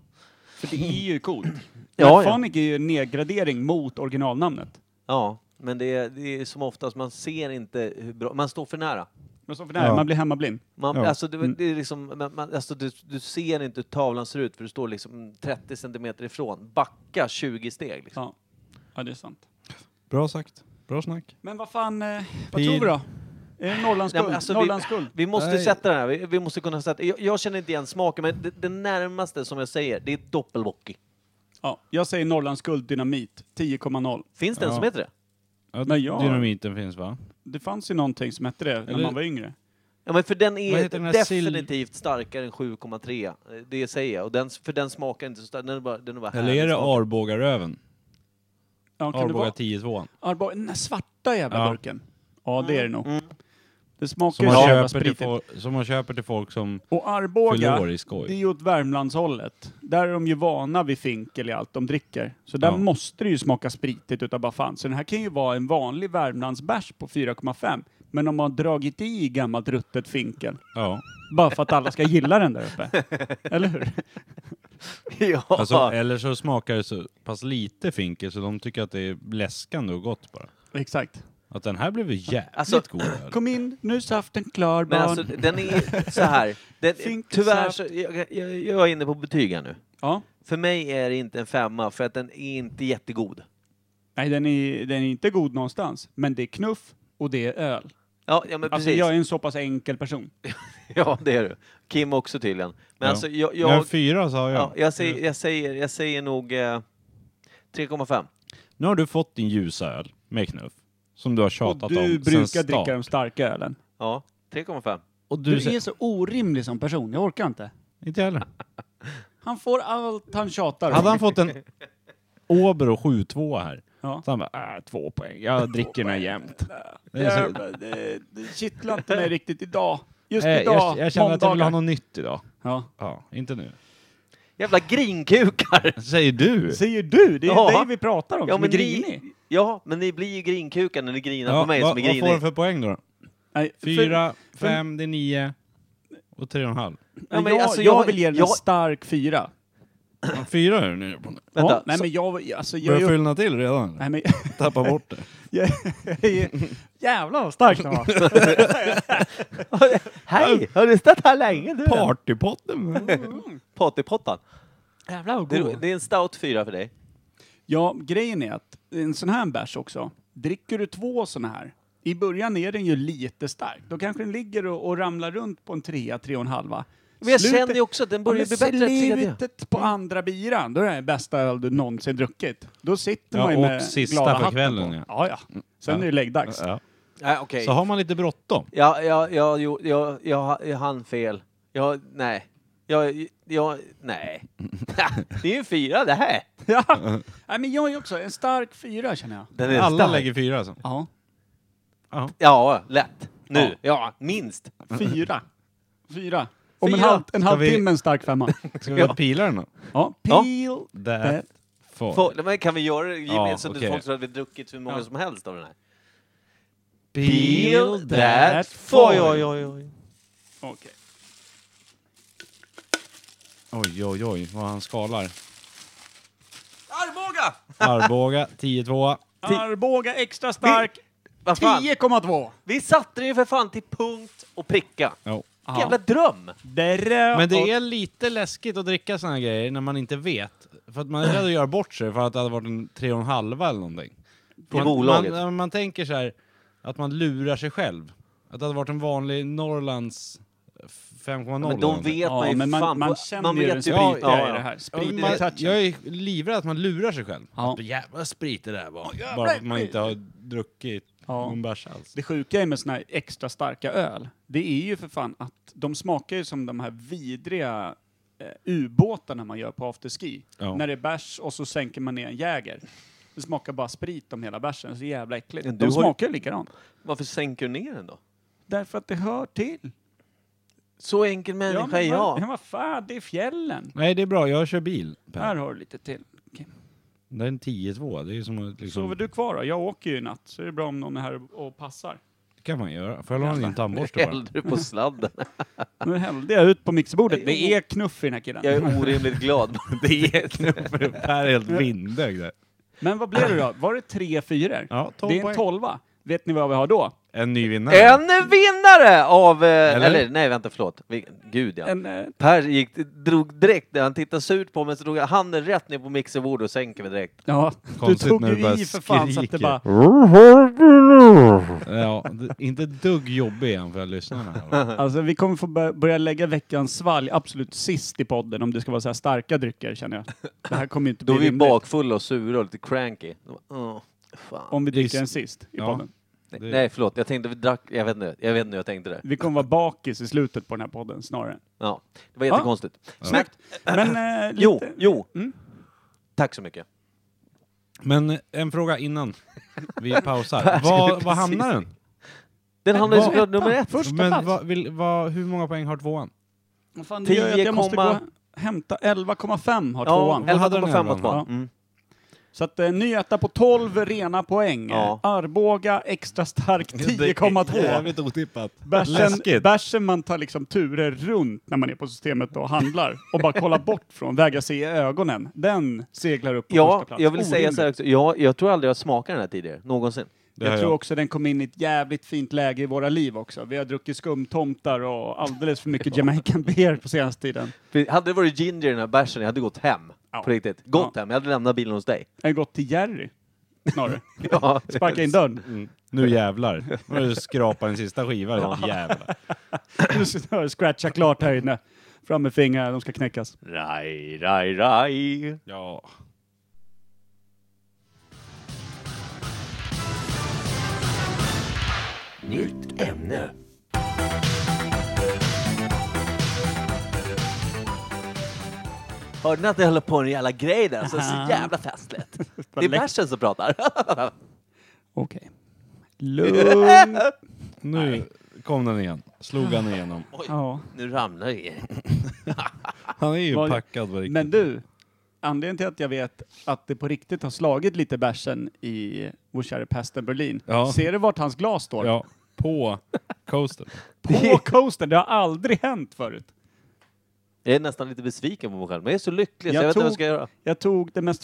B: För det är ju coolt.
C: Ja,
B: ja,
C: ja.
B: Fanic är ju en nedgradering mot originalnamnet.
C: Ja, men det är, det är som oftast, man ser inte hur bra, man står för nära.
B: Men så för det här,
A: Ja.
B: man blir hemmablind.
C: Man,
A: Ja. Mm.
C: alltså, det, det är liksom, man, man, alltså, du, du ser inte hur tavlan ser ut för du står liksom 30 centimeter ifrån. Backa 20 steg. Liksom.
B: Ja. ja, det är sant.
A: Bra sagt. Bra snack.
B: Men vad fan, eh, vad
A: Pil.
B: tror vi då? Är det Norrlands
C: Nej,
B: guld?
C: men alltså, vi-
B: Norrlands guld?
C: Vi måste
A: Nej.
C: sätta den här, vi, vi måste kunna sätta, jag, jag känner inte igen smaken men det, det närmaste som jag säger, det är doppelbocky.
B: Ja, jag säger Norrlands guld dynamit, 10,0.
C: Finns det en
A: Ja.
C: som heter det?
A: Ja,
B: Nej, jag-
A: Dynamiten finns va?
B: Det fanns ju någonting som hette det när
A: Eller-
B: man var yngre.
C: Ja, men för den
A: Vad
C: är
A: heter den här sil-
C: definitivt starkare än 7,3. Eh, Det säger jag. Och den, för den smakar inte så starkt. Den är bara, den är bara
A: Eller
C: härlig
A: är det
C: smak.
A: Arbogaröven?
B: Ja, kan det
A: Arboga
B: vara?
A: 10-2.
B: Arboga, den där svarta jävla
A: Ja.
B: burken. Ja, det är det nog.
C: Mm.
B: Det smakar
A: Som,
B: ju
A: man
B: så jävla
A: köper till
B: spritigt.
A: fol- som man köper till folk som
B: Och
A: fyller
B: Arboga,
A: år i skoj.
B: det är ju åt Värmlandshållet. Där är de ju vana vid finkel i allt de dricker. Så där
A: Ja.
B: måste det ju smaka spritigt utav bara fan. Så den här kan ju vara en vanlig Värmlandsbärs på 4,5. Men om man har dragit i gammalt ruttet finkel.
A: Ja.
B: Bara för att alla ska gilla den där uppe. Eller hur?
C: ja.
A: Alltså, eller så smakar det så pass lite finkel så de tycker att det är läskande och gott bara.
B: Exakt.
A: Att den här blev ju jävligt
C: Alltså,
A: god öl.
B: Kom in, nu är saften klar barn.
C: Men alltså den är så här. Den,
B: Think
C: tyvärr så, jag, jag, jag är inne på betyg här nu.
B: ja.
C: För mig är det inte en femma för att den är inte jättegod.
B: Nej, den är, den är inte god någonstans. Men det är knuff och det är öl.
C: Ja, ja men
B: Alltså
C: precis.
B: jag är en så pass enkel person.
C: Ja, det är du. Kim också tydligen. Men
A: Ja.
C: alltså, jag, jag,
A: Men fyra sa jag.
C: ja, jag, säger, jag, säger, jag säger nog eh, 3,5.
A: Nu har du fått din ljusa öl med knuff. Som du har tjatat
B: Och
A: om
B: du
A: sen
B: brukar
A: start.
B: dricka de starka ölen.
C: Ja, 3,5.
A: Och du,
B: Du,
A: säger...
B: är så orimlig som person, jag orkar inte.
A: Inte heller.
B: Han får allt han tjatar
A: Hade han fått en Åbro 7-2 här.
B: Ja.
A: Så han bara, äh, två poäng. Jag dricker den här jämt. Det är så...
B: Jävlar, det, eh, det kittlar inte mig riktigt idag. Just
A: Eh,
B: idag,
A: jag, jag känner att jag vill ha
B: måndagar.
A: något nytt idag.
B: Ja.
A: Ja, inte nu.
C: Jävla grinkukar!
A: Alltså, Säger du?
B: Säger du? Det är
C: Ja.
B: dig vi pratar om, som är grinig.
C: Ni, ja, men ni blir ju grinkukar när ni grinar på mig
A: vad,
C: som är
A: vad får
C: grinig.
A: du för poäng då?
B: Nej, för-
A: Fyra, fem, det är nio. Och tre och en halv.
C: Ja, men
B: jag,
C: alltså,
B: jag,
C: jag-
B: vill ge den en
C: jag-
B: stark fyra.
A: Ja, Fyra är det nu. Vänta.
C: Vänta,
B: Ja, nej,
C: så-
B: men jag, alltså, jag,
A: Börjar
B: jag,
A: fyllna till redan?
B: nej, men,
A: Tappa bort det.
B: jag, jävlar vad stark den var.
C: Hej! Har du stått här länge du?
A: Partypotten!
C: Partypottan.
B: jävlar vad
C: Det, är- det är en stout fyra för dig.
B: Ja, grejen är att en sån här bärs också, dricker du två såna här, i början är den ju lite stark. Då kanske den ligger och, och ramlar runt på en trea, tre och en halva.
C: Men jag
B: Slutet-
C: känner ju också att den börjar
B: Ja, men
C: bli bättre än tredje.
B: Slutet på andra biran, då är det den bästa öl du någonsin druckit. Då sitter
A: Ja,
B: man ju
A: och
B: med
A: sista
B: glada
A: för
B: hatten
A: kvällen,
B: på.
A: ja.
B: ja, ja. Sen är det läggdags.
A: Ja.
C: Nej, okej.
A: Så har man lite bråttom.
C: Ja, ja, ja, jo, jag, jag, jag hann fel. Jag, nej. Jag, jag, nej. det är ju en fyra det här.
B: Ja. Nej, men jag är också en stark fyra känner jag.
C: Den är
A: Alla
C: stark.
A: lägger fyra alltså.
B: Ja,
C: Ja, lätt. Nu. Ja, minst.
B: fyra. Fyra. Om en,
C: Fyra.
B: halv, en
A: Ska vi-
B: halvtimme en stark femma.
A: Ska vi pila den då?
B: Ja,
C: Ja.
B: peel
A: That far.
C: Få- Men kan vi göra det gemensamt så att
A: okej.
C: folk tror att vi har druckit hur många som helst av den här?
B: Peel that
C: Oj,
B: foil.
C: oj, oj, oj.
B: Okej.
A: Oj, oj, oj, vad han skalar.
C: Arboga!
A: Arboga, 10-2.
B: Arboga extra stark,
C: Vad fan?
B: 10,2.
C: Vi satte det ju för fan till punkt och pricka.
A: Jo.
C: Vilken jävla dröm!
B: Där,
A: Men
B: och-
A: det är lite läskigt att dricka såna här grejer när man inte vet. För att man är rädd att göra bort sig för att det hade varit en tre och en halva eller någonting.
C: På
A: man,
C: bolaget.
A: Man, man tänker så här att man lurar sig själv. Att det hade varit en vanlig Norrlands 5,0.
C: Men
A: eller
C: de
A: någonting.
C: vet man
B: Ja,
C: ju
B: men
C: fan
B: man, man
C: på-
B: känner
C: man
B: ju
C: vet
B: den
C: ju-
B: spritiga
C: ja, ja.
B: i det
A: Ja,
B: här.
A: men
B: Spritiga
A: man,
B: touchen.
A: jag är livrädd att man lurar sig själv.
B: Ja.
A: Att, Jävlar vad sprit det där var. Bara för att man inte har druckit
B: Ja.
A: någon bärs alls.
B: Det sjuka är med såna här extra starka öl, det är ju för fan att de smakar ju som de här vidriga eh, ubåtarna man gör på afterski.
A: Ja.
B: När det är bärs och så sänker man ner en Jäger. Det smakar bara sprit om hela bärsen, så jävla äckligt.
C: Men du
B: de
C: har ju-
B: smakar ju likadant.
C: Varför sänker du ner den då?
B: Därför att det hör till.
C: Så enkel människa är
B: men
C: jag.
B: vad fan, det är fjällen.
A: Nej det är bra, jag kör bil. Per.
B: Här har du lite till.
A: Det är en 10-2. Det är ju som att liksom...
B: Sover du kvar då? Jag åker ju i natt, så det är bra om någon är här och passar.
A: Det kan man göra. Får jag låna din tandborste bara?
C: Hällde du på sladden?
B: Nu hällde jag ut på mixerbordet. Det är knuff i den här killen.
C: Jag är orimligt glad. det är
A: Per är helt vindögd där.
B: Men vad blev det då? Var det tre fyror?
A: Ja, tolv
B: det är en
A: poäng.
B: tolva. Vet ni vad vi har då?
A: En ny vinnare.
C: En vinnare av... eh, Eller?
A: Eller?
C: nej vänta förlåt. Vi- Gud ja.
B: En, eh,
C: Per gick, drog direkt, han tittade surt på mig så drog jag handen rätt ner på mixerbordet och sänker mig direkt.
B: ja, du
A: Konstigt
B: tog
A: när du bara
B: ju i för fan så att det
A: skriker.
B: bara...
A: Ja, d- inte ett dugg jobbig är han för lyssnarna.
B: Alltså vi kommer få bör- börja lägga veckans svalg absolut sist i podden om det ska vara så här starka drycker känner jag. Det här kommer ju inte
C: Då
B: bli
C: är vi
B: rimligt
C: bakfulla och sura och lite cranky. Då bara, "Åh, fan.
B: om vi dricker
A: Just-
B: den sist i
A: Ja.
B: podden.
C: Nej,
A: det-
C: Nej förlåt, jag tänkte vi drack, jag vet inte, jag vet inte hur jag tänkte det.
B: Vi kommer vara bakis i slutet på den här podden snarare.
C: Ja, det var jättekonstigt.
B: Men, men eh, lite...
C: Jo, jo.
B: Mm.
C: Tack så mycket.
A: Men eh, en fråga innan vi pausar.
C: Per skulle
A: Vad
C: precis-
A: vad hamnar den?
C: Den hamnar ju
A: Vad-
C: såklart nummer ett.
B: Första
A: Men
B: plats.
A: vad, vill, vad, hur många poäng har tvåan?
B: Vad fan, det gör ju att jag måste gå
C: 10,5
B: och hämta 11,5 har tvåan.
A: vad hade den
C: 11,5
A: elvan?
C: mot tvåan.
B: Ja.
C: Mm.
B: Så att eh, Nyheta på 12 rena poäng.
C: Ja.
B: Arboga extra stark
A: Det är
B: 10,2.
A: Jävligt otippat.
B: Bärsen,
A: Läskigt.
B: bärsen man tar liksom turer runt när man är på systemet och handlar och bara kollar bort från, vägrar se i ögonen. Den seglar upp på första
C: Ja,
B: plats.
C: jag vill säga
B: Orimligt.
C: så här också. Jag, jag tror aldrig jag smakat den här tidigare, någonsin.
A: Det
B: jag
A: har
B: tror
A: jag.
B: också den kom in i ett jävligt fint läge i våra liv också. Vi har druckit skumtomtar och alldeles för mycket Jamaican beer på senaste tiden.
C: För hade det varit ginger i den här bärsen, jag hade gått hem.
B: Ja.
C: På riktigt. Gått hem, jag hade lämnat bilen hos dig.
B: Jag har gått till Jerry snarare.
C: Ja.
B: Sparka in dörren.
A: Nu jävlar. Nu skrapar den sista skivan. Jävlar.
B: Scratcha klart här inne. Fram med fingrarna, de ska knäckas.
C: Raj, raj, raj.
A: Ja.
C: Nytt ämne. Hörde ni att jag höll på med en jävla grej där? Alltså, Så, så jävla festligt. Det är
B: läck-
C: bärsen som pratar.
B: Okej. Lugn.
A: Nu kom den igen. Slog han igenom.
B: ja.
C: nu ramlar det i.
A: Han är ju
B: Vad-
A: packad på riktigt.
B: Men du, anledningen till att jag vet att det på riktigt har slagit lite bärsen i vår kära Pesten Berlin.
A: Ja.
B: Ser du vart hans glas står?
A: Ja, på coaster.
B: På coasten, det har aldrig hänt förut.
C: Jag är nästan lite besviken på mig själv, men jag är så lycklig
B: Jag
C: så jag vet inte vad jag
B: tog-
C: ska göra.
B: Jag tog det mest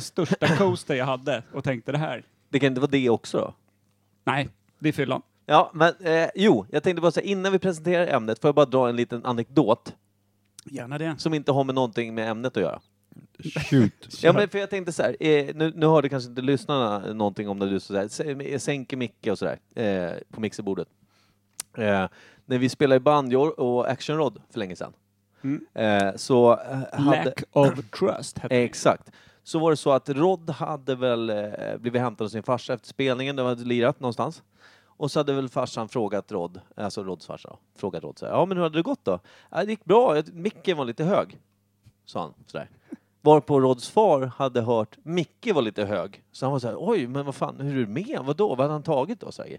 B: största coaster jag hade och tänkte det här.
C: Det kan inte vara det också då?
B: Nej, det är fyllan.
C: Ja, men eh, jo, jag tänkte bara säga innan vi presenterar ämnet, får jag bara dra en liten anekdot
B: Gärna det.
C: som inte har med någonting med ämnet att göra.
A: Shoot.
C: Ja, men för jag tänkte så här, eh, nu, nu hörde kanske inte lyssnarna någonting om när du så här, sä- sänker micke och sådär eh, på mixerbordet. Eh, när vi spelade i banjor och actionrod för länge sedan.
B: Mm.
C: Eh, så eh, hade,
B: Lack of trust hette det.
C: Exakt. Så var det så att Rod hade väl eh, blivit hämtad av sin farsa efter spelningen, de hade lirat någonstans. Och så hade väl farsan frågat Rod, alltså Rods farsa, då, frågat Rod så här, ja men hur hade det gått då? Ja, det gick bra, Jag- micken var lite hög, sa han sådär. Varpå Rods far hade hört Micke var lite hög, så han var så här, oj men vad fan, hur är det med Vad då? Vad hade han tagit då? Så här.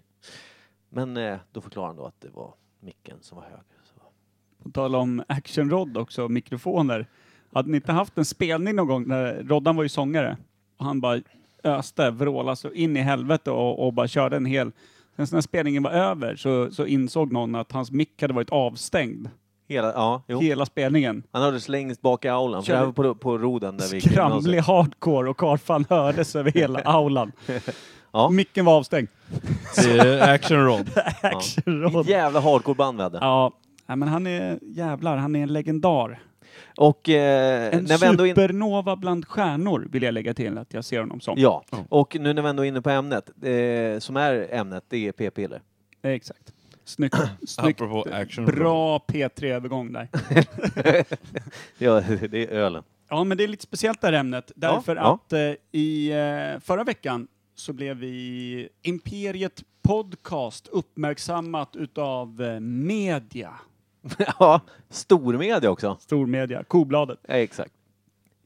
C: Men eh, då förklarade han då att det var micken som var hög. Så.
B: På tal om actionrodd också, mikrofoner. Hade ni inte haft en spelning någon gång när Roddan var ju sångare och han bara öste, vrålade så in i helvete och, och bara körde en hel... Sen så när spelningen var över så, så insåg någon att hans mick hade varit avstängd
C: Hela, ja, jo.
B: hela spelningen.
C: Han hördes längst bak i aulan, för
B: Körde-
C: det här var på, på roden där vi gick
B: Skramlig hardcore och karlfan hördes över hela aulan.
C: Ja.
B: Micken var avstängd.
A: Det är Action Rod.
B: Actionrodd.
C: Vilket jävla hardcore-band vi hade.
B: Ja. ja, men han är jävlar, han är en legendar.
C: Och, eh,
B: En
C: när vi ändå in...
B: supernova bland stjärnor vill jag lägga till att jag ser honom som.
C: Ja, och nu när vi ändå är inne på ämnet, eh, som är ämnet, det är p-piller.
B: Exakt. Snyggt. Snyggt.
A: Apropå Action Rod.
B: Bra P3-övergång där.
C: ja, det är ölen.
B: Ja, men det är lite speciellt det här ämnet. Därför
C: ja.
B: att eh, i eh, förra veckan så blev vi Imperiet Podcast uppmärksammat utav eh, media.
C: ja, stormedia också.
B: Stormedia, Kobladet.
C: Ja, exakt.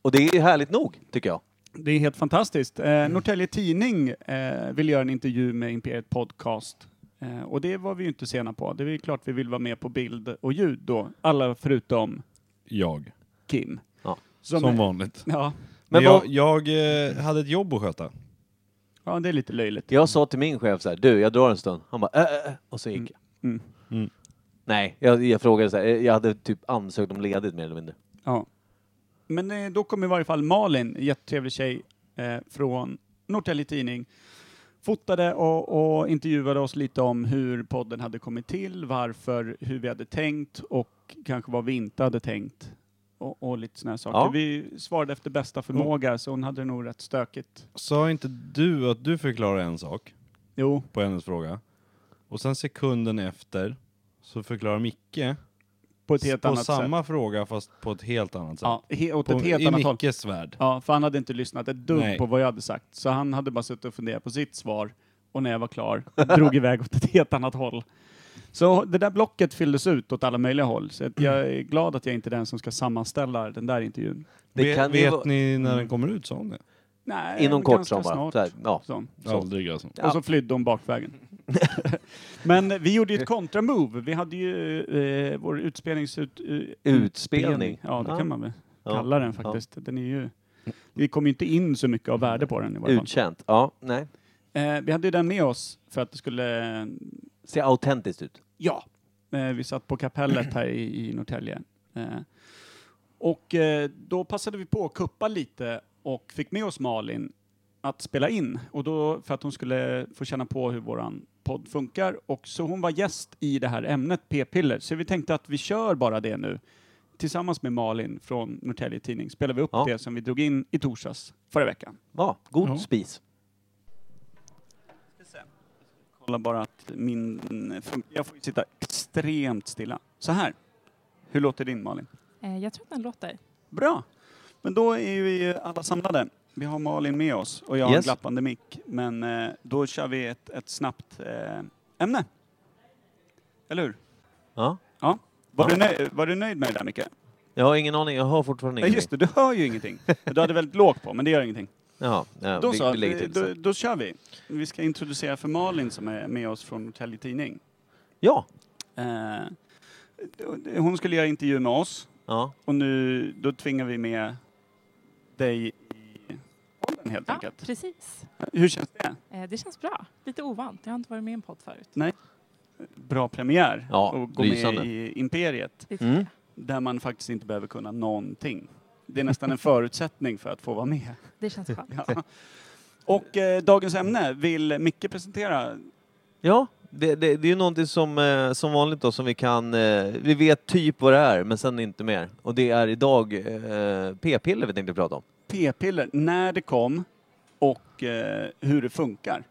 C: Och det är härligt nog, tycker jag.
B: Det är helt fantastiskt.
C: Mm.
B: Eh, Norrtälje Tidning eh, vill göra en intervju med Imperiet Podcast. Eh, och det var vi ju inte sena på. Det är ju klart vi vill vara med på bild och ljud då. Alla förutom
A: Jag.
B: Kim.
C: Ja.
B: Som,
A: Som vanligt.
B: ja,
A: Men
C: Men
A: jag,
C: vad-
A: jag eh, hade ett jobb att sköta.
B: ja, det är lite löjligt.
C: Jag sa till min chef så här, du, jag drar en stund. Han bara, äh, äh, äh, och så gick jag.
B: Mm.
A: Mm.
C: Nej, jag, jag frågade så här, jag hade typ ansökt om ledigt mer eller mindre.
B: Ja. Men eh, då kom i varje fall Malin, en jättetrevlig tjej eh, från Norrtälje Tidning, fotade och, och intervjuade oss lite om hur podden hade kommit till, varför, hur vi hade tänkt och kanske vad vi inte hade tänkt. Och, och lite sådana saker.
C: Ja.
B: Vi svarade efter bästa förmåga, så hon hade det nog rätt stökigt.
A: Sa inte du att du förklarade en sak
B: Jo,
A: på hennes fråga? Och sen sekunden efter så förklarar Micke
B: på ett helt
A: på
B: annat sätt.
A: samma fråga fast på ett helt annat sätt.
B: Ja, he, åt
A: på,
B: ett helt
A: I
B: annat håll.
A: Mickes värld.
B: Ja, för han hade inte lyssnat ett dugg
A: Nej.
B: på vad jag hade sagt. Så han hade bara suttit och funderat på sitt svar och när jag var klar drog iväg åt ett helt annat håll. Så det där blocket fylldes ut åt alla möjliga håll. Så att jag är glad att jag inte är den som ska sammanställa den där intervjun.
C: Det
A: Vet-
C: kan ju
A: vet
C: vara-
A: ni när
B: Mm.
A: den kommer ut, sa hon det?
B: Nej,
C: Inom
B: men
C: kort
B: ganska
C: sa han bara.
B: snart.
C: Så här, ja.
B: Så.
C: Så.
A: Aldrig alltså.
C: Ja.
B: Och så flydde hon bakvägen. Men vi gjorde ju ett kontramove. Vi hade ju eh, vår utspelningsut... eh,
C: Utspelning.
B: Ja, det
C: Ja.
B: kan man väl
C: Ja.
B: kalla den faktiskt. Den är ju... Vi kom ju inte in så mycket av värde på den i varje fall.
C: Utkänt. Ja, nej.
B: Eh, vi hade ju den med oss för att det skulle...
C: Ser autentiskt ut.
B: Ja. Eh, vi satt på kapellet här i, i Norrtälje. Eh, och eh, då passade vi på att kuppa lite och fick med oss Malin att spela in. Och då för att hon skulle få känna på hur våran podd funkar. Och så hon var gäst i det här ämnet p-piller. Så vi tänkte att vi kör bara det nu. Tillsammans med Malin från Norrtälje Tidning spelar vi upp
C: Ja.
B: det som vi drog in i torsdags förra veckan.
C: Ja, god spis.
B: kollar bara att min funkar. Jag får ju sitta extremt stilla. Så här. Hur låter din Malin?
G: Eh, jag tror att den låter.
B: Bra! Men då är vi alla samlade. Vi har Malin med oss och jag har en
C: Yes.
B: glappande mick. Men eh, då kör vi ett, ett snabbt eh, ämne. Eller hur?
C: Ja.
B: Var,
C: Ja.
B: du nöj, var du nöjd med det där Micke?
C: Jag har ingen aning, jag har fortfarande
B: Nej
C: ingen
B: just det, du hör ju ingenting. Du hade väldigt lågt på, men det gör ingenting.
C: Jaha, ja,
B: Då
C: vi,
B: så,
C: vi lägger till
B: då,
C: sen.
B: då kör vi. Vi ska introducera för Malin som är med oss från Norrtälje Tidning.
C: Ja.
B: Eh, hon skulle göra intervju med oss
C: ja.
B: och nu då tvingar vi med dig i podden helt
G: Ja,
B: enkelt.
G: precis.
B: Hur känns det?
G: Eh, det känns bra. Lite ovant. Jag har inte varit med i en podd förut.
B: Bra premiär
C: Ja,
B: och gå
C: lysande.
B: med i Imperiet
G: Det tycker
C: Mm.
B: där man faktiskt inte behöver kunna någonting. Det är nästan en förutsättning för att få vara med.
G: jag. Det känns skönt.
B: Ja. Och eh, dagens ämne vill Micke presentera.
C: Ja, det, det, det är ju någonting som, eh, som vanligt då som vi kan, eh, vi vet typ vad det är men sen inte mer. Och det är idag eh, p-piller vi tänkte prata om.
B: P-piller, när det kom och eh, hur det funkar.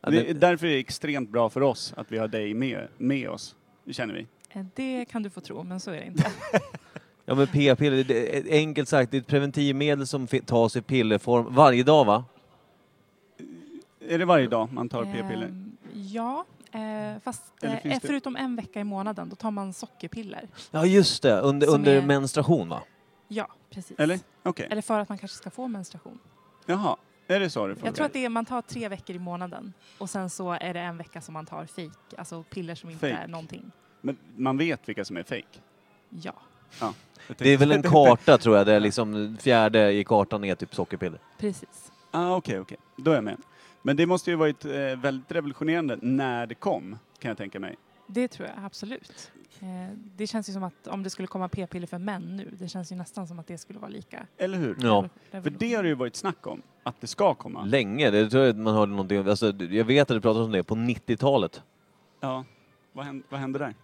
C: Ja,
B: det,
C: det,
B: därför är det extremt bra för oss att vi har dig med, med oss. Det känner vi.
G: Eh, det kan du få tro, men så är det inte.
C: ja men p-piller, det, är- enkelt sagt det är ett preventivmedel som fi- tas i pillerform varje dag va?
B: Är det varje dag man tar p-piller?
G: Ehm, ja, eh, fast
B: Eller
G: eh,
B: finns det-
G: förutom en vecka i månaden, då tar man sockerpiller.
C: Ja just det, under,
G: Som
C: under
G: är-
C: menstruation va?
G: Ja, precis.
B: Eller? Okej.
G: Eller för att man kanske ska få menstruation.
B: Jaha, är det så det funkar?
G: Jag tror att det är, man tar tre veckor i månaden och sen så är det en vecka som man tar fake, alltså piller som inte
B: Fake.
G: är någonting.
B: Men man vet vilka som är fejk.
G: Ja.
C: Det är väl en karta tror jag, där liksom fjärde i kartan är typ sockerpiller.
G: Precis.
B: Ah, okej, okej. Då är jag med. Men det måste ju varit eh, väldigt revolutionerande när det kom, kan jag tänka mig.
G: Det tror jag absolut. Eh, det känns ju som att om det skulle komma p-piller för män nu, det känns ju nästan som att det skulle vara lika.
B: Eller hur?
C: Ja.
B: För det har det ju varit snack om, att det ska komma.
C: Länge, det tror jag att man hörde någonting, alltså, jag vet att det pratades om det på 90-talet.
B: Ja. Vad hände, vad hände där?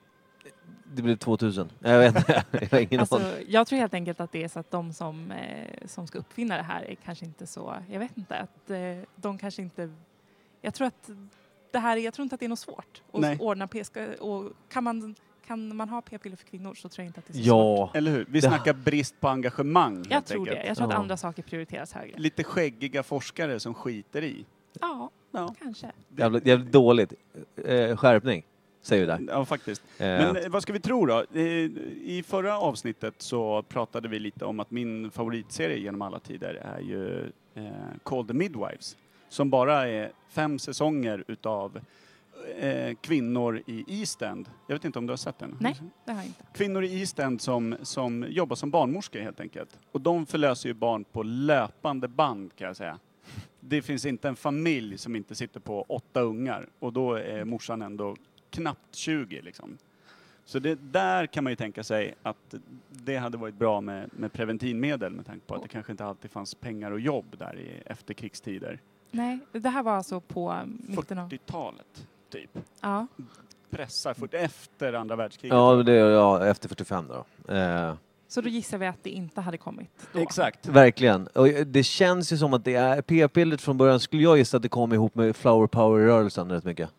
C: Det blev 2000. Jag vet inte, jag har ingen aning.
G: Alltså, jag tror helt enkelt att det är så att de som, eh, som ska uppfinna det här är kanske inte så, jag vet inte, att eh, de kanske inte, jag tror att det här, är- jag tror inte att det är något svårt att
B: Nej.
G: ordna p ska- och kan man, kan man ha p-piller för kvinnor så tror jag inte att det är så svårt.
C: Ja,
B: Eller hur? Vi
C: Det-
B: snackar brist på engagemang,
G: Jag
B: helt
G: tror
B: enkelt.
G: det. Jag tror att
C: Ja.
G: andra saker prioriteras högre.
B: Lite skäggiga forskare som skiter i.
G: Ja,
B: Ja.
G: kanske.
C: jävligt, jävligt dåligt. Eh, skärpning, säger vi där.
B: Ja, faktiskt.
C: Eh,
B: Men eh, vad ska vi tro då? Eh, I förra avsnittet så pratade vi lite om att min favoritserie genom alla tider är ju eh, Call the Midwives. Som bara är fem säsonger utav eh, kvinnor i East End. Jag vet inte om du har sett den?
G: Nej. Det har jag inte.
B: Kvinnor i East End som, som jobbar som barnmorskor helt enkelt. Och de förlöser ju barn på löpande band kan jag säga. Det finns inte en familj som inte sitter på åtta ungar och då är morsan ändå knappt 20 liksom. Så det, där kan man ju tänka sig att det hade varit bra med, med preventivmedel med tanke på att det kanske inte alltid fanns pengar och jobb där i efterkrigstider.
G: Nej, det här var alltså på mitten av...
B: 40-talet, typ.
G: Ja,
B: Pressar fort efter andra världskriget.
C: ja, det, ja, efter 45 då. Eh,
G: så då gissar vi att det inte hade kommit då.
B: Exakt.
C: verkligen. Och det känns ju som att det är p-pillret från början skulle jag gissa att det kom ihop med flower power-rörelsen rätt mycket.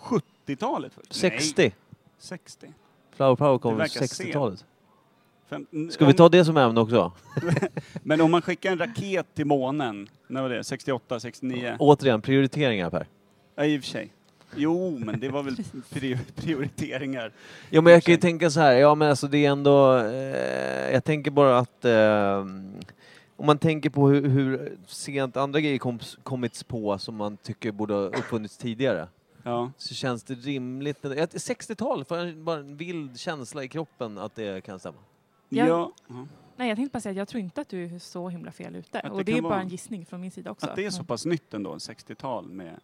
B: 70-talet först?
C: 60!
B: Nej, 60.
C: Flower power
B: Det
C: kom på
B: verkar
C: 60-talet.
B: Fem-
C: Ska vi
B: om-
C: ta det som ämne också?
B: Men om man skickar en raket till månen, när var det? 68, 69?
C: Återigen, prioriteringar Per.
B: Ja, i och för sig. Jo, men det var väl prior- prioriteringar.
C: Ja, men jag kan ju tänka så här, ja men alltså det är ändå, eh, jag tänker bara att eh, om man tänker på hur, hur sent andra grejer komps- kommits på som man tycker borde ha uppfunnits tidigare,
B: Ja.
C: så känns det rimligt. Ett 60-tal får jag bara en vild känsla i kroppen att det kan stämma.
G: Ja.
B: Ja. ja.
G: Nej, jag tänkte bara säga att jag tror inte att du är så himla fel ute.
B: Att det
G: och det
B: kan
G: är bara
B: vara-
G: en gissning från min sida också.
B: Att det är så
G: Men-
B: pass nytt ändå, 60-tal med,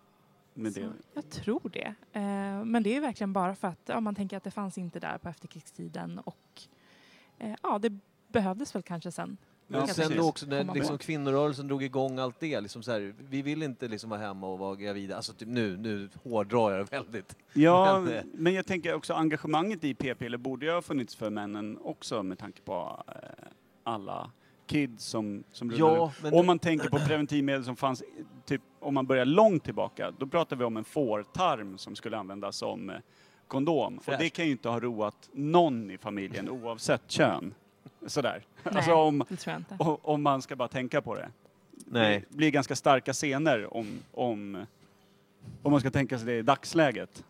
B: med
G: så
B: det.
G: Jag tror det. Eh, men det är verkligen bara för att ja, man tänker att det fanns inte där på efterkrigstiden och eh, ja, det behövdes väl kanske sen.
B: Ja,
C: Men sen
B: precis.
C: då också när
G: Komma
C: liksom
G: ihåg.
C: kvinnorörelsen drog igång allt det, liksom så här, vi vill inte liksom vara hemma och vara gravida. Alltså typ nu, nu hårdrar jag väldigt.
B: Ja,
C: Men, eh,
B: men jag tänker också engagemanget i p-piller borde ju ha funnits för männen också med tanke på eh, alla kids som, som rullar
C: Ja,
B: runt.
C: men
B: Om man tänker på preventivmedel som fanns i- typ om man börjar långt tillbaka, då pratar vi om en fårtarm som skulle användas som eh, kondom. Och det
C: Fräscht.
B: kan ju inte ha roat någon i familjen oavsett kön. Sådär. Alltså
G: Nej,
B: om,
G: det tror jag inte.
B: o- om man ska bara tänka på det.
C: Nej.
B: Det blir ganska starka scener om, om, om man ska tänka sig det i dagsläget.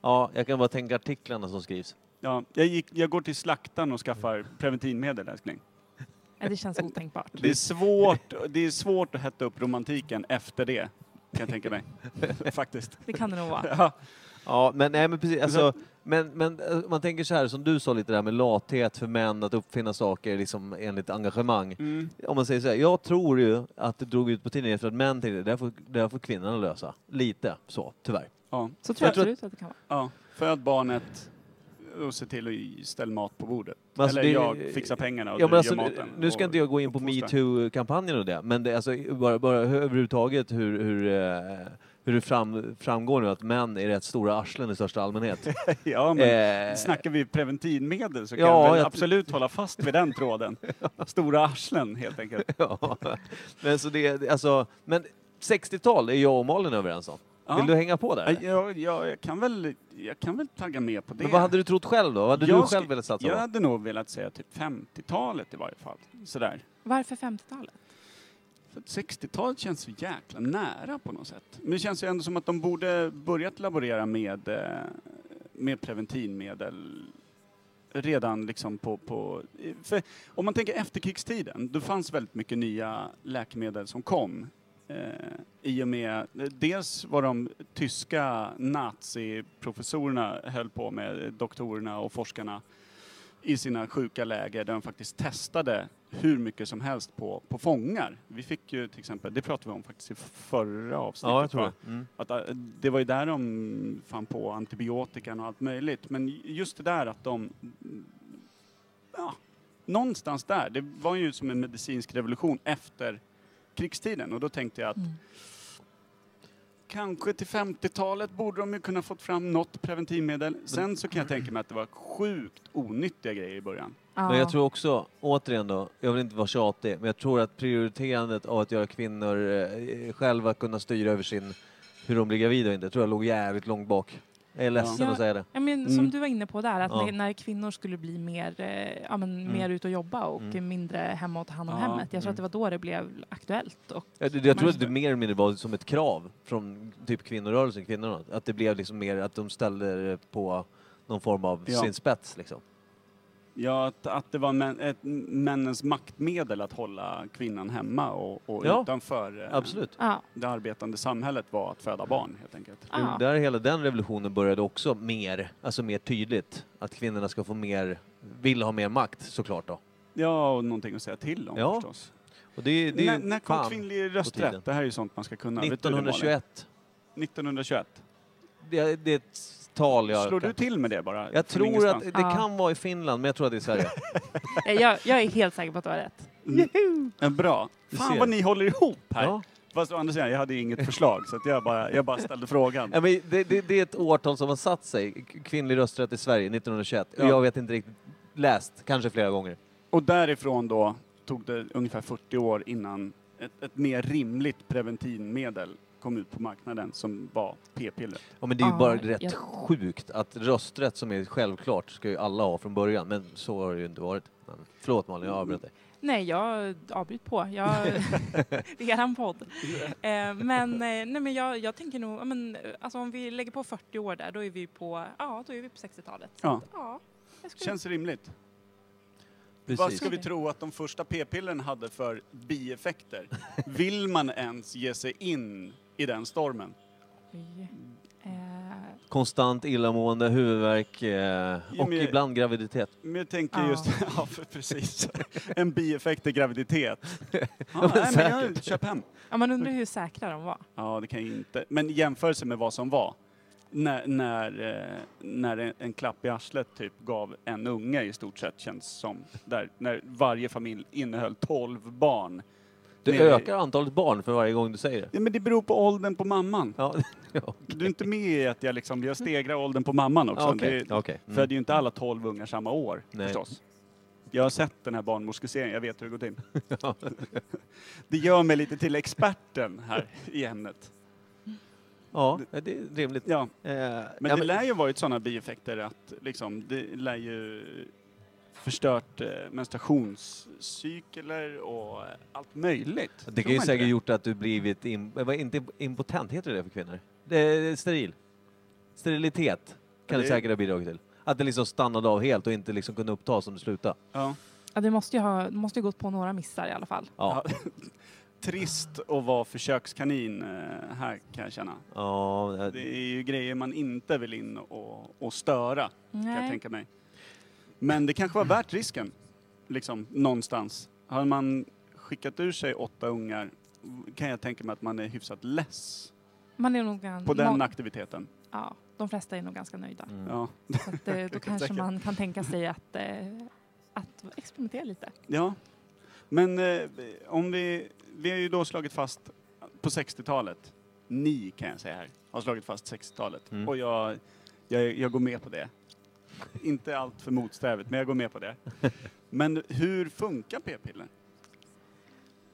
C: Ja, jag kan bara tänka artiklarna som skrivs.
B: Ja, jag, gick, jag går till slaktaren och skaffar preventivmedel, älskling.
G: Nej, det känns otänkbart.
B: Det är svårt, det är svårt att hetta upp romantiken efter det, kan jag tänka mig. Faktiskt.
G: Det kan det nog vara.
B: Ja,
C: Ja, men nej men precis. Alltså, men, men eh, man tänker så här som du sa lite där med lathet för män att uppfinna saker liksom enligt engagemang.
B: mm.
C: Om man säger så här, jag tror ju att det drog ut på tiden efter att män tänkte det här får, det här får kvinnorna lösa. Lite så, tyvärr.
B: ja,
G: Så tror jag,
C: Jag tror-
G: absolut att det kan vara.
B: ja. Föd barnet och se till att ställa mat på bordet.
C: Men alltså,
B: Eller
C: det-
B: jag fixar pengarna och
C: Ja,
B: du
C: men alltså,
B: gör maten.
C: nu ska
B: och
C: inte jag gå in på
B: uppfostrar.
C: metoo-kampanjen och det, men det, alltså, bara, bara hur- överhuvudtaget hur, hur, eh, hur det fram, framgår nu att män är rätt stora arslen i största allmänhet.
B: Ja, men
C: Eh,
B: snackar vi preventivmedel så kan
C: ja,
B: jag väl
C: jag-
B: absolut hålla fast vid den tråden. Stora arslen, helt enkelt.
C: ja. Men, så det, det- alltså, men 60-tal är jag och Malin överens om.
B: Ja.
C: Vill du hänga på där?
B: Ja, Jag, jag, jag, kan väl, jag kan väl tagga med på det.
C: Men vad hade du alltså trott själv då? Vad hade
B: Jag
C: du själv
B: sk-
C: velat satsa
B: Jag
C: på?
B: hade nog velat säga typ 50-talet i varje fall. Sådär.
G: Varför 50-talet?
B: För att 60-talet känns så jäkla nära på något sätt. Men det känns ju ändå som att de borde börjat laborera med, eh, med preventivmedel redan liksom på, på... För om man tänker efterkrigstiden, då fanns väldigt mycket nya läkemedel som kom. Eh, I och med, dels var de tyska naziprofessorerna höll på med, eh, doktorerna och forskarna, i sina sjuka läger där de faktiskt testade hur mycket som helst på, på fångar. Vi fick ju till exempel, det pratade vi om faktiskt i förra avsnittet,
C: Ja, jag tror
B: va?
C: det. Mm.
B: Att, äh, det var ju där de fann på antibiotikan och allt möjligt. Men just det där att de... Ja, någonstans där. Det var ju som en medicinsk revolution efter krigstiden. Och då tänkte jag att
G: Mm.
B: kanske till 50-talet borde de ju kunna fått fram något preventivmedel. Sen så kan jag tänka mig att det var sjukt onyttiga grejer i början.
C: Men
G: Ja.
C: jag tror också, återigen då, jag vill inte vara tjatig, men jag tror att prioriterandet av att göra kvinnor eh, själva kunna styra över sin, hur de blir gravida och inte, tror jag låg jävligt långt bak. Jag är ledsen
G: Ja.
C: att säga det.
G: Ja, men,
B: Mm.
G: Som du var inne på där, att
C: Ja.
G: när, när kvinnor skulle bli mer, eh, ja, men,
C: Mm.
G: mer ute och jobba och
C: Mm.
G: mindre hemma och ta hand om
B: Ja.
G: hemmet. Jag tror att det
C: Mm.
G: var då det blev aktuellt. Och,
C: Jag, jag tror
G: Man-
C: att det mer eller mindre var som ett krav från typ kvinnorörelsen, kvinnorna. Att det blev liksom mer att de ställde det på någon form av
B: Ja.
C: sin spets liksom.
B: Ja, att, att det var män, ett, männens maktmedel att hålla kvinnan hemma och, och
C: Ja,
B: utanför eh,
C: Absolut.
G: ja,
B: det arbetande samhället var att föda barn helt enkelt.
G: ja.
C: Mm. Där hela den revolutionen började också mer, alltså mer tydligt. Att kvinnorna ska få mer, vill ha mer makt såklart då.
B: Ja, och någonting att säga till om
C: Ja,
B: förstås.
C: Och det, det är
B: när
C: ju
B: när kom
C: fan
B: kvinnlig
C: tiden.
B: rösträtt? Det här är ju sånt man ska kunna. Vet du det, Malin?
C: 1921.
B: 1921.
C: Det, det är ett tal jag...
B: Slår
C: kan.
B: du till med det bara?
C: Jag
B: från
C: tror att
B: ingenstans? Ah.
C: det
G: Ja.
C: kan vara i Finland, men jag tror att det är i Sverige.
G: Ja, Eh, Jag, jag är helt säker på att du har rätt.
B: Mm. Ja, Bra.
C: Du
B: Fan
C: ser.
B: vad ni håller ihop här.
C: ja.
B: Fast å andra sidan, jag hade ju inget förslag så att jag, bara, jag bara ställde frågan.
C: Ja, men det, det, det är ett årtal som har satt sig, k- kvinnlig rösträtt i Sverige 1921.
B: Ja.
C: Jag vet inte riktigt, läst kanske flera gånger.
B: Och därifrån då tog det ungefär 40 år innan ett, ett mer rimligt preventivmedel kom ut på marknaden som var p-piller.
C: Ja, men det är ju
G: Ja,
C: bara rätt
G: jag-
C: sjukt att rösträtt som är självklart ska ju alla ha från början, men så har det ju inte varit. Men, förlåt Malin, jag avbröt dig.
G: Nej, jag avbryter på. Jag, det är eran podd. Eh, men eh, nej, men jag, jag tänker nog, ja, men, eh, alltså, om vi lägger på 40 år där, då är vi på, ja, då är vi på 60-talet. Så
B: Ja.
G: att, ja, jag skulle,
B: Känns rimligt. Vad
C: Precis.
B: ska vi tro att de första p-pillren hade för bieffekter? Vill man ens ge sig in i den stormen?
G: Oj. Eh,
C: Konstant illamående, huvudvärk eh, och
B: men-
C: ibland graviditet.
B: Men jag tänker
G: Ja.
B: just, ja för precis, en bieffekt är graviditet.
C: men
B: Ja, nej, men jag
C: säkert.
B: köper hem.
G: ja, man undrar hur säkra de var.
B: Ja, det kan jag inte. Men i jämförelse med vad som var. När, när, eh, när en, en klapp i arslet typ gav en unge i stort sett känns som. Där, när varje familj innehöll 12 barn.
C: Du
B: Nej.
C: ökar antalet barn för varje gång du säger det.
B: Ja, men det beror på åldern på mamman.
C: Ja, ja,
B: Du är inte med i att jag liksom, jag stegrar åldern på mamman också.
C: Ah, okej.
B: Det
C: okej. Mm.
B: föder ju inte alla 12 ungar samma år
C: Nej.
B: förstås. Jag har sett den här barnmorskeserien, jag vet hur det går till. det gör mig lite till experten här i ämnet.
C: Ja, det är rimligt.
B: Ja,
C: Eh,
B: men
C: ja,
B: det lär ju varit sådana bieffekter att liksom, det lär ju förstört eh, menstruationscykler och eh, allt möjligt.
C: Det
B: Tror
C: kan ju
B: man inte
C: säkert gjort att du blivit im, eh, vad- inte impotent, heter det för kvinnor? Det är steril. Sterilitet kan det
B: det-
C: säkert ha bidragit till. Att det liksom stannade av helt och inte liksom kunde upptas om det slutade.
B: Ja.
G: Ja, det måste ju ha det måste ju gått på några missar i alla fall.
C: Ja.
B: Ja. Trist att vara försökskanin eh, här kan jag känna.
C: ja. det-
B: Det är ju grejer man inte vill in och, och störa kan jag
G: Nej.
B: tänka mig. Men det kanske var värt risken, liksom någonstans. Har man skickat ur sig åtta ungar kan jag tänka mig att man är hyfsat less
G: Man är nog gan-
B: på den
G: må-
B: aktiviteten.
G: ja, de flesta är nog ganska nöjda.
C: Mm.
B: Ja.
G: Så att, eh, då kanske
B: Säkert.
G: man kan tänka sig att, eh, att experimentera lite.
B: Ja. Men eh, om vi, vi har ju då slagit fast på 60-talet, ni kan jag säga här, har slagit fast 60-talet.
C: Mm.
B: Och jag, jag, jag går med på det. Inte allt för motsträvigt, men jag går med på det. Men hur funkar p-piller?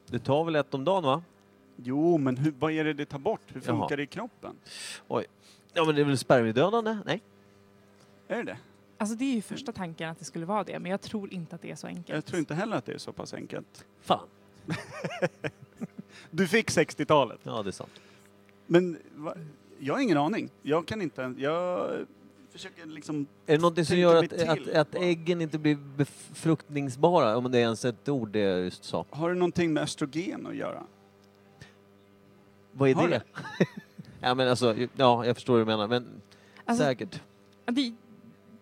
C: Du tar väl ett om dagen va?
B: Jo, men hur, vad är det det tar bort? Hur
C: Jaha.
B: funkar det i kroppen?
C: Ja men det är väl spermiedödande? Nej.
B: Är det det?
G: Alltså det är ju första tanken att det skulle vara det, men jag tror inte att det är så enkelt.
B: Jag tror inte heller att det är så pass enkelt.
C: Fan.
B: Du fick 60-talet.
C: Ja det är sant.
B: Men va, jag har ingen aning. Jag kan inte ens- Jag försöker liksom...
C: Är det någonting som
B: Tänker
C: gör
B: vi
C: att,
B: till
C: att, att
B: bara.
C: äggen inte blir befruktningsbara? Om det är ens ett ord det jag just sa.
B: Har det någonting med östrogen att göra?
C: Vad är
B: Har
C: det? ja men alltså, ja jag förstår hur du menar men
G: Alltså,
C: säkert.
G: det,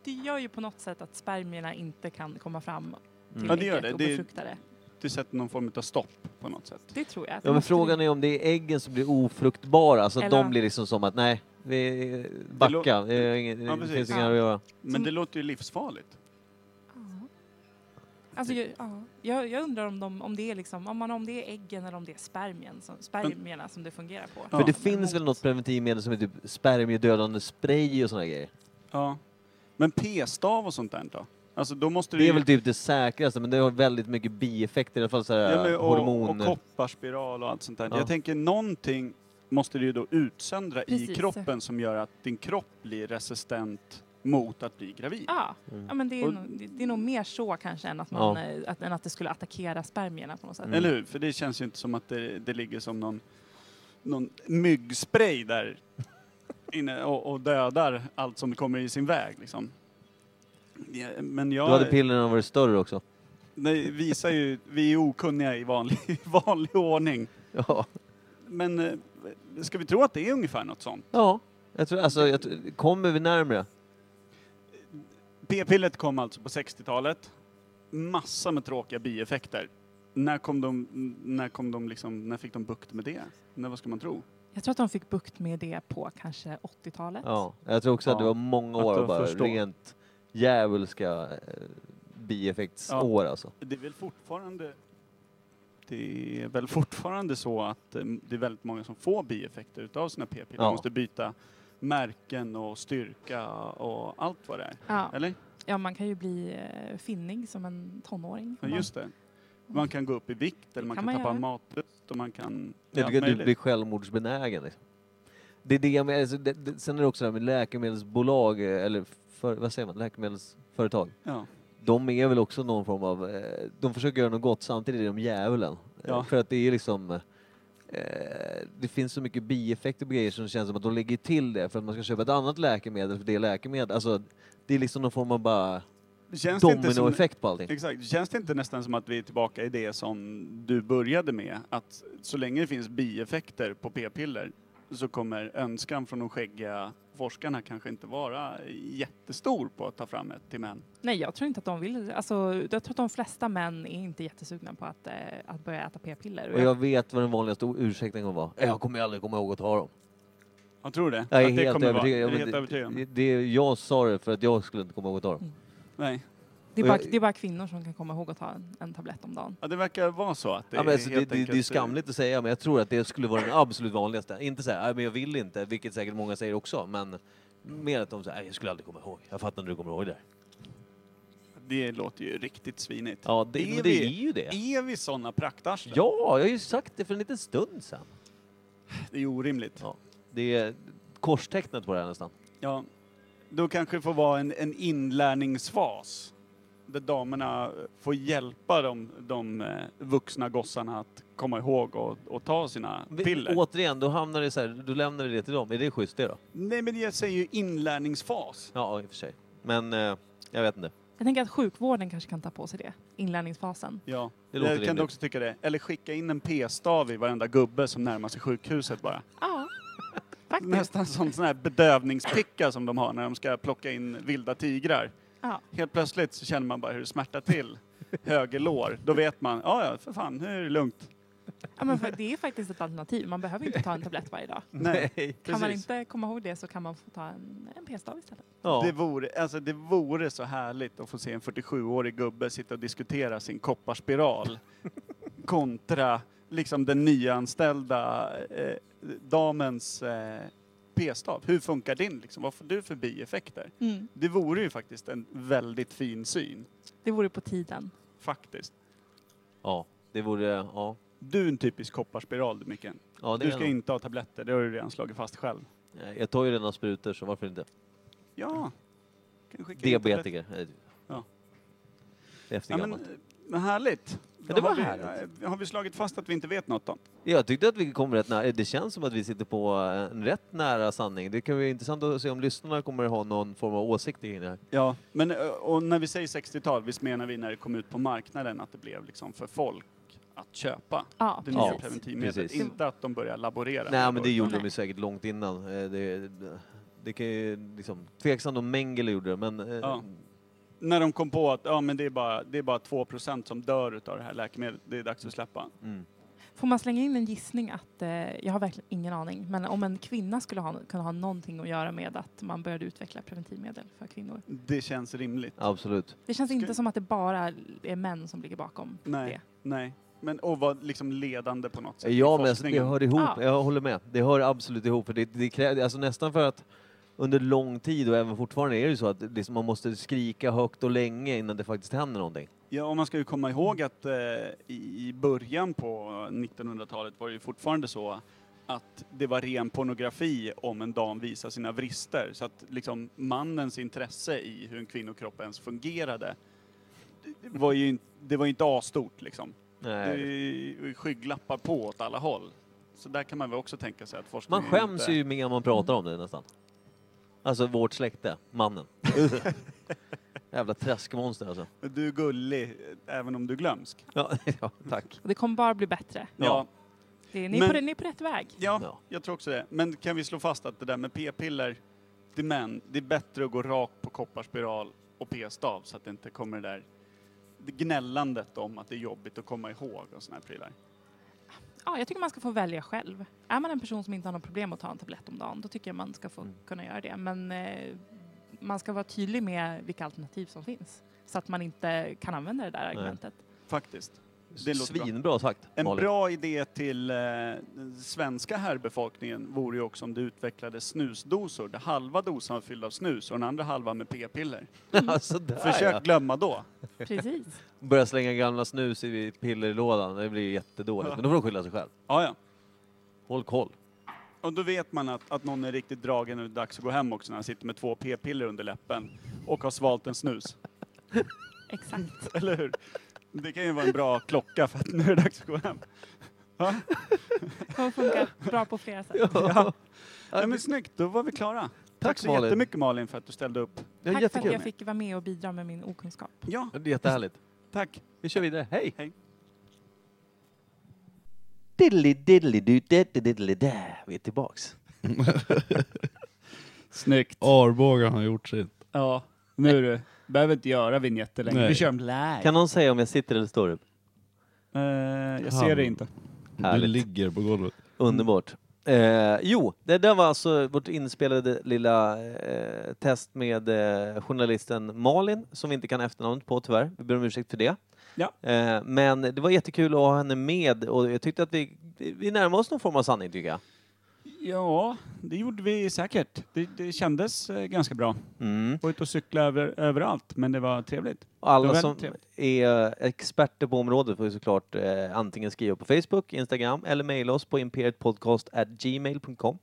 G: det gör ju på något sätt att spermierna inte kan komma fram till
C: Mm.
B: Ja, det gör
G: ägget
B: det.
G: och
B: Det är-
G: befrukta det.
B: Du sätter någon form av stopp på något sätt.
G: Det tror jag. att det
C: Ja,
B: Alltså-
C: men
G: måste
C: frågan
G: bli.
C: är om det är äggen som blir ofruktbara, så att
G: Eller-
C: de blir liksom som att nej, vi
B: Det
C: backa,
B: lå-
C: det, är ingen,
B: Ja,
C: det
B: precis.
C: finns inget här att göra.
B: Men
G: Som-
B: det låter ju livsfarligt.
G: Ja. Alltså, jag, ja. jag, jag undrar om, de, om, det är liksom, om, man, om det är äggen eller om det är spermien som, spermierna som det fungerar på.
B: Ja.
C: För det finns väl något preventivmedel som är typ spermiedödande spray och såna här grejer.
B: Ja. Men p-stav och sånt där då? Alltså då måste
C: Det
B: ju-
C: är väl typ det säkraste, men det har väldigt mycket bieffekter, i alla fall så här
B: Ja, men, och,
C: hormon...
B: och kopparspiral och allt sånt där.
C: Ja.
B: Jag tänker någonting måste det ju då utsöndra i
G: Precis.
B: kroppen som gör att din kropp blir resistent mot att bli gravid.
G: Ja.
C: Mm.
G: ja, men det är,
B: Och-
G: nog, det, det är nog mer så kanske än att, man,
C: Ja.
G: eh, att, än att det skulle attackera spermierna på något sätt.
B: Eller hur? För det känns ju inte som att det, det ligger som någon, någon myggspray där inne och, och dödar allt som kommer i sin väg liksom. Ja, Men jag...
C: Du hade pillerna varit större också.
B: Det visar ju, vi är okunniga i vanlig, i vanlig ordning.
C: Ja,
B: Men eh, ska vi tro att det är ungefär något sånt?
C: ja. Jag tror, alltså, jag tror, kommer vi närmre?
B: P-pillret kom alltså på 60-talet. Massa med tråkiga bieffekter. När kom de, när kom de liksom, när fick de bukt med det? När, vad ska man tro?
G: Jag tror att de fick bukt med det på kanske 80-talet.
C: Ja. Jag tror också att det
B: Ja.
C: var många
B: Att
C: år
B: de
C: av bara
B: förstår.
C: rent djävulska eh, bieffektsår alltså.
B: Det är väl fortfarande det är väl fortfarande så att eh, det är väldigt många som får bieffekter utav sina p-piller.
C: Ja.
B: De måste byta märken och styrka och allt vad det är.
G: Ja.
B: Eller?
G: Ja, man kan ju bli eh, finnig som en tonåring.
B: Ja, just det. Man kan gå upp i vikt eller man
G: kan
B: kan,
G: man
B: tappa
G: göra.
B: matlust och man kan...
C: Ja,
B: allt
C: du, kan- du
B: möjligt.
C: blir självmordsbenägen. Liksom. Det är det jag menar. Alltså, det, det, sen är det också det här med läkemedelsbolag, eh, eller för, vad säger man, läkemedelsföretag.
B: ja.
C: De är väl också någon form av, eh, de försöker göra något gott samtidigt är de djävulen. Eh,
B: Ja.
C: För att det är liksom, eh, det finns så mycket bieffekter på grejer som det känns som att de lägger till det för att man ska köpa ett annat läkemedel för det är läkemedel. Alltså, det är liksom någon form av bara
B: Det känns det inte som,
C: dominoeffekt på allting.
B: Exakt. Känns det inte nästan som att vi är tillbaka i det som du började med? Att så länge det finns bieffekter på p-piller så kommer önskan från de skäggiga forskarna kanske inte vara jättestor på att ta fram ett till män.
G: Nej, jag tror inte att de vill. Alltså, jag tror att de flesta män är inte jättesugna på att, eh, att börja äta p-piller.
C: Och jag vet vad den vanligaste o- ursäkten kommer vara. Jag kommer ju aldrig komma ihåg att ta dem.
B: Jag tror det.
C: Jag är
B: att det
C: helt
B: kommer vara-
C: övertygad.
B: Är du
C: Jag,
B: helt övertygad om
C: det,
B: det?
C: det, jag sa det för att jag skulle inte komma ihåg att ta dem.
B: Nej.
G: det, är
C: och
G: bara,
C: jag-
G: det är bara kvinnor som kan komma ihåg att ta en, en tablett om dagen.
B: Ja, det verkar vara så att det
C: Ja, men alltså,
B: är
C: det,
B: helt
C: det, det är ju
B: enkelt-
C: skamligt att säga, men jag tror att det skulle vara den absolut vanligaste. Inte så här, "Nej, men jag vill inte, vilket säkert många säger också, men mer att de säger, "Nej, jag skulle aldrig komma ihåg. Jag fattar inte hur du kommer ihåg det här."
B: Det låter ju riktigt svinigt.
C: Ja, det,
B: Är
C: men det
B: vi-
C: är ju det.
B: Är vi sådana praktarslen?
C: Ja, jag har ju sagt det för en liten stund sedan.
B: Det är orimligt.
C: Ja. Det är korstecknet på det här nästan.
B: Ja. Då kanske det får vara en, en inlärningsfas. Där damerna får hjälpa de, de eh, vuxna gossarna att komma ihåg och, och ta sina
C: Vi-
B: piller.
C: Återigen, då hamnar det så här, du lämnar det till dem. Är det schysst det då?
B: Nej men jag säger ju inlärningsfas.
C: Ja, i och för sig. Men eh, jag vet inte.
G: Jag tänker att sjukvården kanske kan ta på sig det, inlärningsfasen.
B: Ja,
C: Det låter
B: jag kan
C: rimligt.
B: också tycka det. Eller skicka in en p-stav i varenda gubbe som närmar sig sjukhuset bara.
G: Ja, faktiskt.
B: Nästan som sån här bedövningspicka som de har när de ska plocka in vilda tigrar.
G: Ja.
B: Helt plötsligt så känner man bara hur det smärtar till höger lår. Då vet man, ja ja, för fan, nu är det lugnt.
G: Ja, men för det är faktiskt ett alternativ. Man behöver inte ta en tablett varje dag.
B: Nej,
G: Kan man
B: precis.
G: inte komma ihåg det så kan man få ta en, en p-stav istället.
C: Ja.
B: Det vore, alltså det vore så härligt att få se en 47-årig gubbe sitta och diskutera sin kopparspiral kontra liksom den nyanställda eh, damens eh, p-stav. Hur funkar din liksom? Vad får du för bieffekter? Det vore ju faktiskt en väldigt fin syn,
G: Det vore på tiden.
B: faktiskt.
C: ja, det vore... Ja.
B: Du är en typisk kopparspiral du Micken.
C: Ja, det
B: Du
C: är
B: ska
C: nog-
B: inte ha tabletter, det har du redan slagit fast själv.
C: Nej, Jag tar ju redan sprutor, så varför inte?
B: Ja. Kan du skicka in tabletter?
C: Diabetiker. Nej,
B: Ja.
C: Det är efter
B: Ja, men,
C: gammalt.
B: eh, men härligt.
C: Ja, det
B: Då
C: var
B: har vi,
C: härligt.
B: eh, Har vi slagit fast att vi inte vet något då?
C: Jag tyckte att vi kom rätt nära. Det känns som att vi sitter på eh, en rätt nära sanning. Det kan vara intressant att se om lyssnarna kommer att ha någon form av åsikt i det här.
B: Ja, men ö, och när vi säger 60-tal, visst menar vi när det kom ut på marknaden att det blev liksom för folk att köpa
G: Ja,
B: det
C: Ja,
B: nya
G: precis.
B: preventivmedlet.
C: precis.
B: Inte att de börjar laborera.
C: Nej, men det gjorde
G: Nej.
C: de ju säkert långt innan. Eh, Det, det kan ju liksom... Tveksamt om Mengele gjorde det, men... eh,
B: Ja. När de kom på att ja, men det, är bara, det är bara 2% som dör utav det här läkemedlet, det är dags att släppa.
C: Mm.
G: Får man slänga in en gissning att, eh, jag har verkligen ingen aning, men om en kvinna skulle ha, kunna ha någonting att göra med att man började utveckla preventivmedel för kvinnor.
B: Det känns rimligt.
C: Absolut.
G: Det känns
B: Ska-
G: inte som att det bara är män som ligger bakom
B: Nej.
G: det.
B: Nej, men och vara liksom ledande på något sätt. i
C: Ja, men alltså, det
B: forskningen.
C: hör ihop.
G: Ja.
C: Jag håller med. Det hör absolut ihop. För det, det krävs, alltså nästan för att under lång tid och även fortfarande är det ju så att liksom man måste skrika högt och länge innan det faktiskt händer någonting.
B: Ja, och man ska ju komma ihåg att eh, i- i början på 1900-talet var det ju fortfarande så att det var ren pornografi om en dam visade sina vrister. Så att liksom mannens intresse i hur en kvinnokropp ens fungerade det var ju, in- det var ju inte asstort liksom. Det är
C: Nej.
B: ju skygglappar på åt alla håll. Så där kan man väl också tänka sig att
C: Man
B: forskningen
C: skäms
B: inte...
C: ju mer man pratar om det nästan. Alltså vårt släkte, mannen. Jävla träskmonster alltså.
B: Du är gullig, eh, även om du är glömsk.
C: Ja, ja tack.
G: Och det kommer bara bli bättre.
B: ja,
G: Det, ni, är
B: Men-
G: på, ni är på rätt väg.
B: Ja,
C: Ja.
B: jag tror också det. Men kan vi slå fast att det där med p-piller till män, det är bättre att gå rakt på kopparspiral och p-stav så att det inte kommer det där det gnällandet om att det är jobbigt att komma ihåg och såna här prylar.
G: Ja, jag tycker man ska få välja själv. Är man en person som inte har något problem att ta en tablett om dagen, då tycker jag man ska få
C: Mm.
G: kunna göra det. Men eh, man ska vara tydlig med vilka alternativ som finns så att man inte kan använda det där argumentet.
B: Faktiskt. Det låter bra.
C: Svinbra sagt,
B: En
C: Malin.
B: bra idé till eh, den svenska herrbefolkningen vore ju också om det utvecklades snusdosor där halva dosan var fylld av snus och den andra halvan med p-piller.
C: alltså, där,
B: Försök
C: ja.
B: glömma då.
G: Precis.
C: Börja slänga gamla snus i pillerlådan, det blir jättedåligt. Men då får de skylla sig själv.
B: Ja, ja.
C: Håll koll.
B: Och då vet man att, att någon är riktigt dragen och det är dags att gå hem också när han sitter med två p-piller under läppen och har svalt en snus.
G: Exakt.
B: Eller hur? Det kan ju vara en bra klocka för att nu är det dags att gå hem. Va?
G: Det kommer funka bra på flera sätt.
C: Ja.
B: Ja, men snyggt, då var vi klara. Tack, så
C: Malin.
B: jättemycket Malin för att du ställde upp.
C: Ja,
G: Tack för att
C: jättekul.
G: jag fick vara med och bidra med min okunskap.
B: Ja,
C: Det är jättehärligt.
B: tack.
C: Vi kör vidare. Hej!
B: Hej.
C: Diddly diddly du diddly diddly dä. Vi är tillbaks.
B: Snyggt.
D: Arboga har gjort sitt.
B: Ja, nu du. Behöver inte göra vignetter längre.
D: Nej.
B: Vi kör dem live.
C: Kan någon säga om jag sitter eller står upp?
B: Eh, jag ser det inte.
D: Du
C: Härligt.
D: ligger på golvet.
C: Underbart. Eh, jo, det där var alltså vårt inspelade lilla eh, test med eh, journalisten Malin, som vi inte kan efternamnet på tyvärr. Vi ber om ursäkt för det.
B: Ja.
C: Eh, men det var jättekul att ha henne med och jag tyckte att vi, vi närmade oss någon form av sanning tycker jag.
B: Ja, det gjorde vi säkert. Det, det kändes eh, ganska bra.
C: Mm.
B: Var ute och cykla över, överallt, men det var trevligt.
C: Och alla
B: Det var
C: som
B: väldigt trevligt.
C: är experter på området får ju såklart eh, antingen skriva på Facebook, Instagram eller mejla oss på imperietpodcast@gmail.com.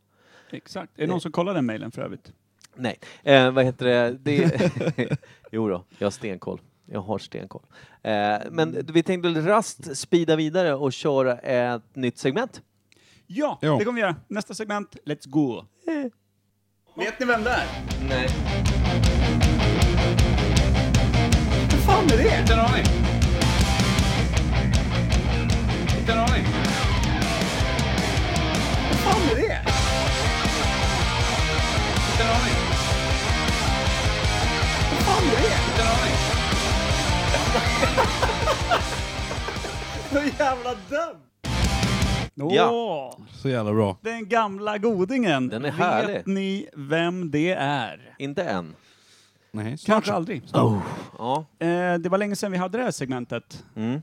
B: Exakt. Är det någon som kollar den mejlen för övrigt?
C: Nej, eh, vad heter det? det jo då, jag har stenkoll. Jag har stenkoll. Eh, men vi tänkte rast spida vidare och köra ett nytt segment.
B: Ja,
A: Ja.
B: det kommer vi göra. Nästa segment, let's go! Vet ni vem det är?
C: Nej.
B: Vad fan är det?
D: Inte en aning. Inte en aning.
B: Vad fan är det?
D: Inte en aning.
B: Vad fan är det?
D: Inte en aning.
B: Så jävla dum!
C: Ja.
A: Så jävla bra.
B: Den gamla godingen.
C: Den är härlig.
B: Vet ni vem det är?
C: Inte än.
A: Nej, snart.
B: Kanske aldrig.
C: Ja.
B: Eh, det var länge sedan vi hade det här segmentet.
C: Mm.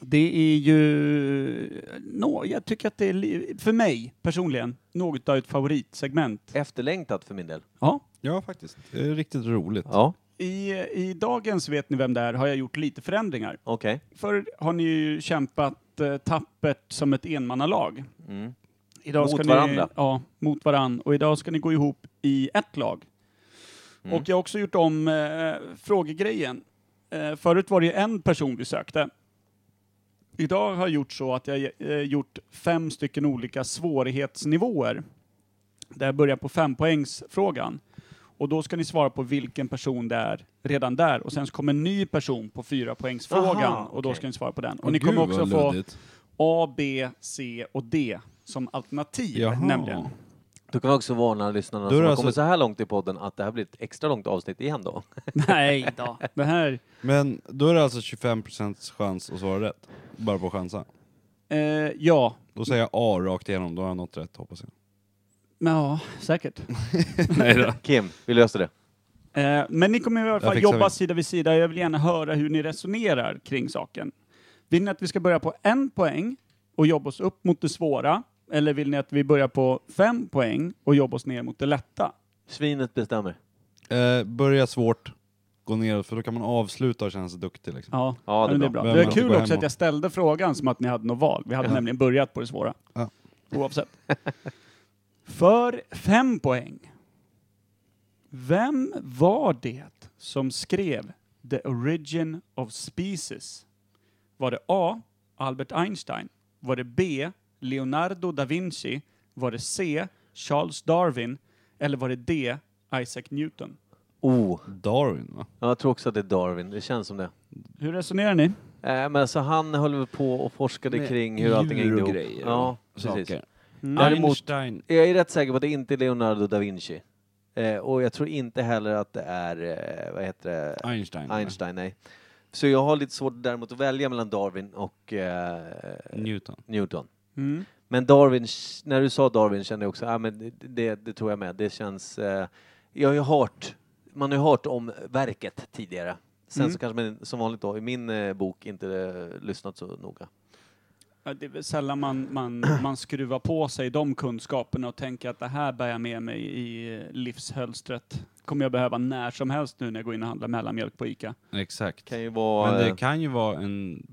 B: Det är ju... nå, jag tycker att det är, li- för mig personligen, något av ett favoritsegment.
C: Efterlängtat för min del.
B: Ja.
A: Ja, faktiskt. Det är riktigt roligt.
C: Ja,
B: I, I dagens Vet ni vem det är har jag gjort lite förändringar.
C: okej.
B: Förr har ni ju kämpat eh, tappert som ett enmannalag.
C: Mm.
B: Idag
C: Mot
B: ska
C: varandra.
B: Ni, ja, mot varann. Och idag ska ni gå ihop i ett lag.
C: Mm.
B: Och jag har också gjort om eh, frågegrejen. Eh, förut var det ju en person vi sökte. Idag har jag gjort så att jag eh, gjort fem stycken olika svårighetsnivåer. Där jag börjar på fempoängsfrågan. Och då ska ni svara på vilken person det är redan där. Och sen så kommer en ny person på fyra poängsfrågan
C: Aha,
B: och då
C: okej.
B: ska ni svara på den. Och
A: Åh,
B: ni kommer
A: gud,
B: också
A: vad
B: få
A: luddigt.
B: A, B, C och D som alternativ
A: Jaha.
B: nämligen.
C: Då kan vi också varna lyssnarna
A: Då
C: som
A: är det
C: har
A: alltså-
C: kommit så här långt i podden att det här blir ett extra långt avsnitt igen då.
B: Nej då. Det här,
A: Men då är det alltså 25% chans att svara rätt. Bara på chansa.
B: eh, ja.
A: Då säger jag A rakt igenom, då har jag nått rätt hoppas jag.
B: Men Ja, säkert.
A: Nej då.
C: Kim, vi löser det.
B: Eh, men ni kommer i alla
A: Där
B: fall
A: fixar
B: jobba
A: vi.
B: sida vid sida. Jag vill gärna höra hur ni resonerar kring saken. Vill ni att vi ska börja på en poäng och jobba oss upp mot det svåra? Eller vill ni att vi börjar på fem poäng och jobbar oss ner mot det lätta?
C: Svinet bestämmer.
A: Eh, börja svårt, gå ner för då kan man avsluta och känna sig duktig liksom.
B: Ja,
C: Ja, det är
B: men
C: bra.
A: Vem
B: Det är
A: man
B: kul
A: går
B: också
A: hem
B: att jag ställde frågan som att ni hade något val. Vi hade
A: Ja.
B: nämligen börjat på det svåra.
A: Ja.
B: Oavsett. För fem poäng. Vem var det som skrev The Origin of Species? Var det A. Albert Einstein? Var det B. Leonardo da Vinci? Var det C. Charles Darwin? Eller var det D. Isaac Newton?
C: Oh.
A: Darwin va?
C: Ja, Jag tror också att det är Darwin, det känns som det.
B: Hur resonerar ni?
C: Äh, men alltså han höll väl på och forskade
A: Med
C: kring hur allting
A: djur
C: hängde
A: och
C: ihop.
A: grejer och
C: Ja, precis.
A: Saker.
C: Däremot,
A: Einstein.
C: jag är rätt säker på att det inte är Leonardo da Vinci. Eh, och jag tror inte heller att det är, eh, vad heter det,
A: Einstein.
C: Einstein, nej. Så jag har lite svårt däremot att välja mellan Darwin och eh,
A: Newton.
C: Newton.
B: Mm.
C: Men Darwin, när du sa Darwin kände jag också, ah, men det, det, det tror jag med. Det känns, eh, jag har ju hört, man har ju hört om verket tidigare. Sen
B: Mm.
C: så kanske man som vanligt då i min eh, bok inte eh, lyssnat så noga.
B: Ja, Det är väl sällan man, man, man skruvar på sig de kunskaperna och tänker att det här bär jag med mig i eh, livshölstret. kommer jag behöva när som helst nu när jag går in och handlar mellanmjölk på ICA.
A: Exakt.
C: Kan ju vara...
A: Men
C: eh,
A: det kan ju vara en...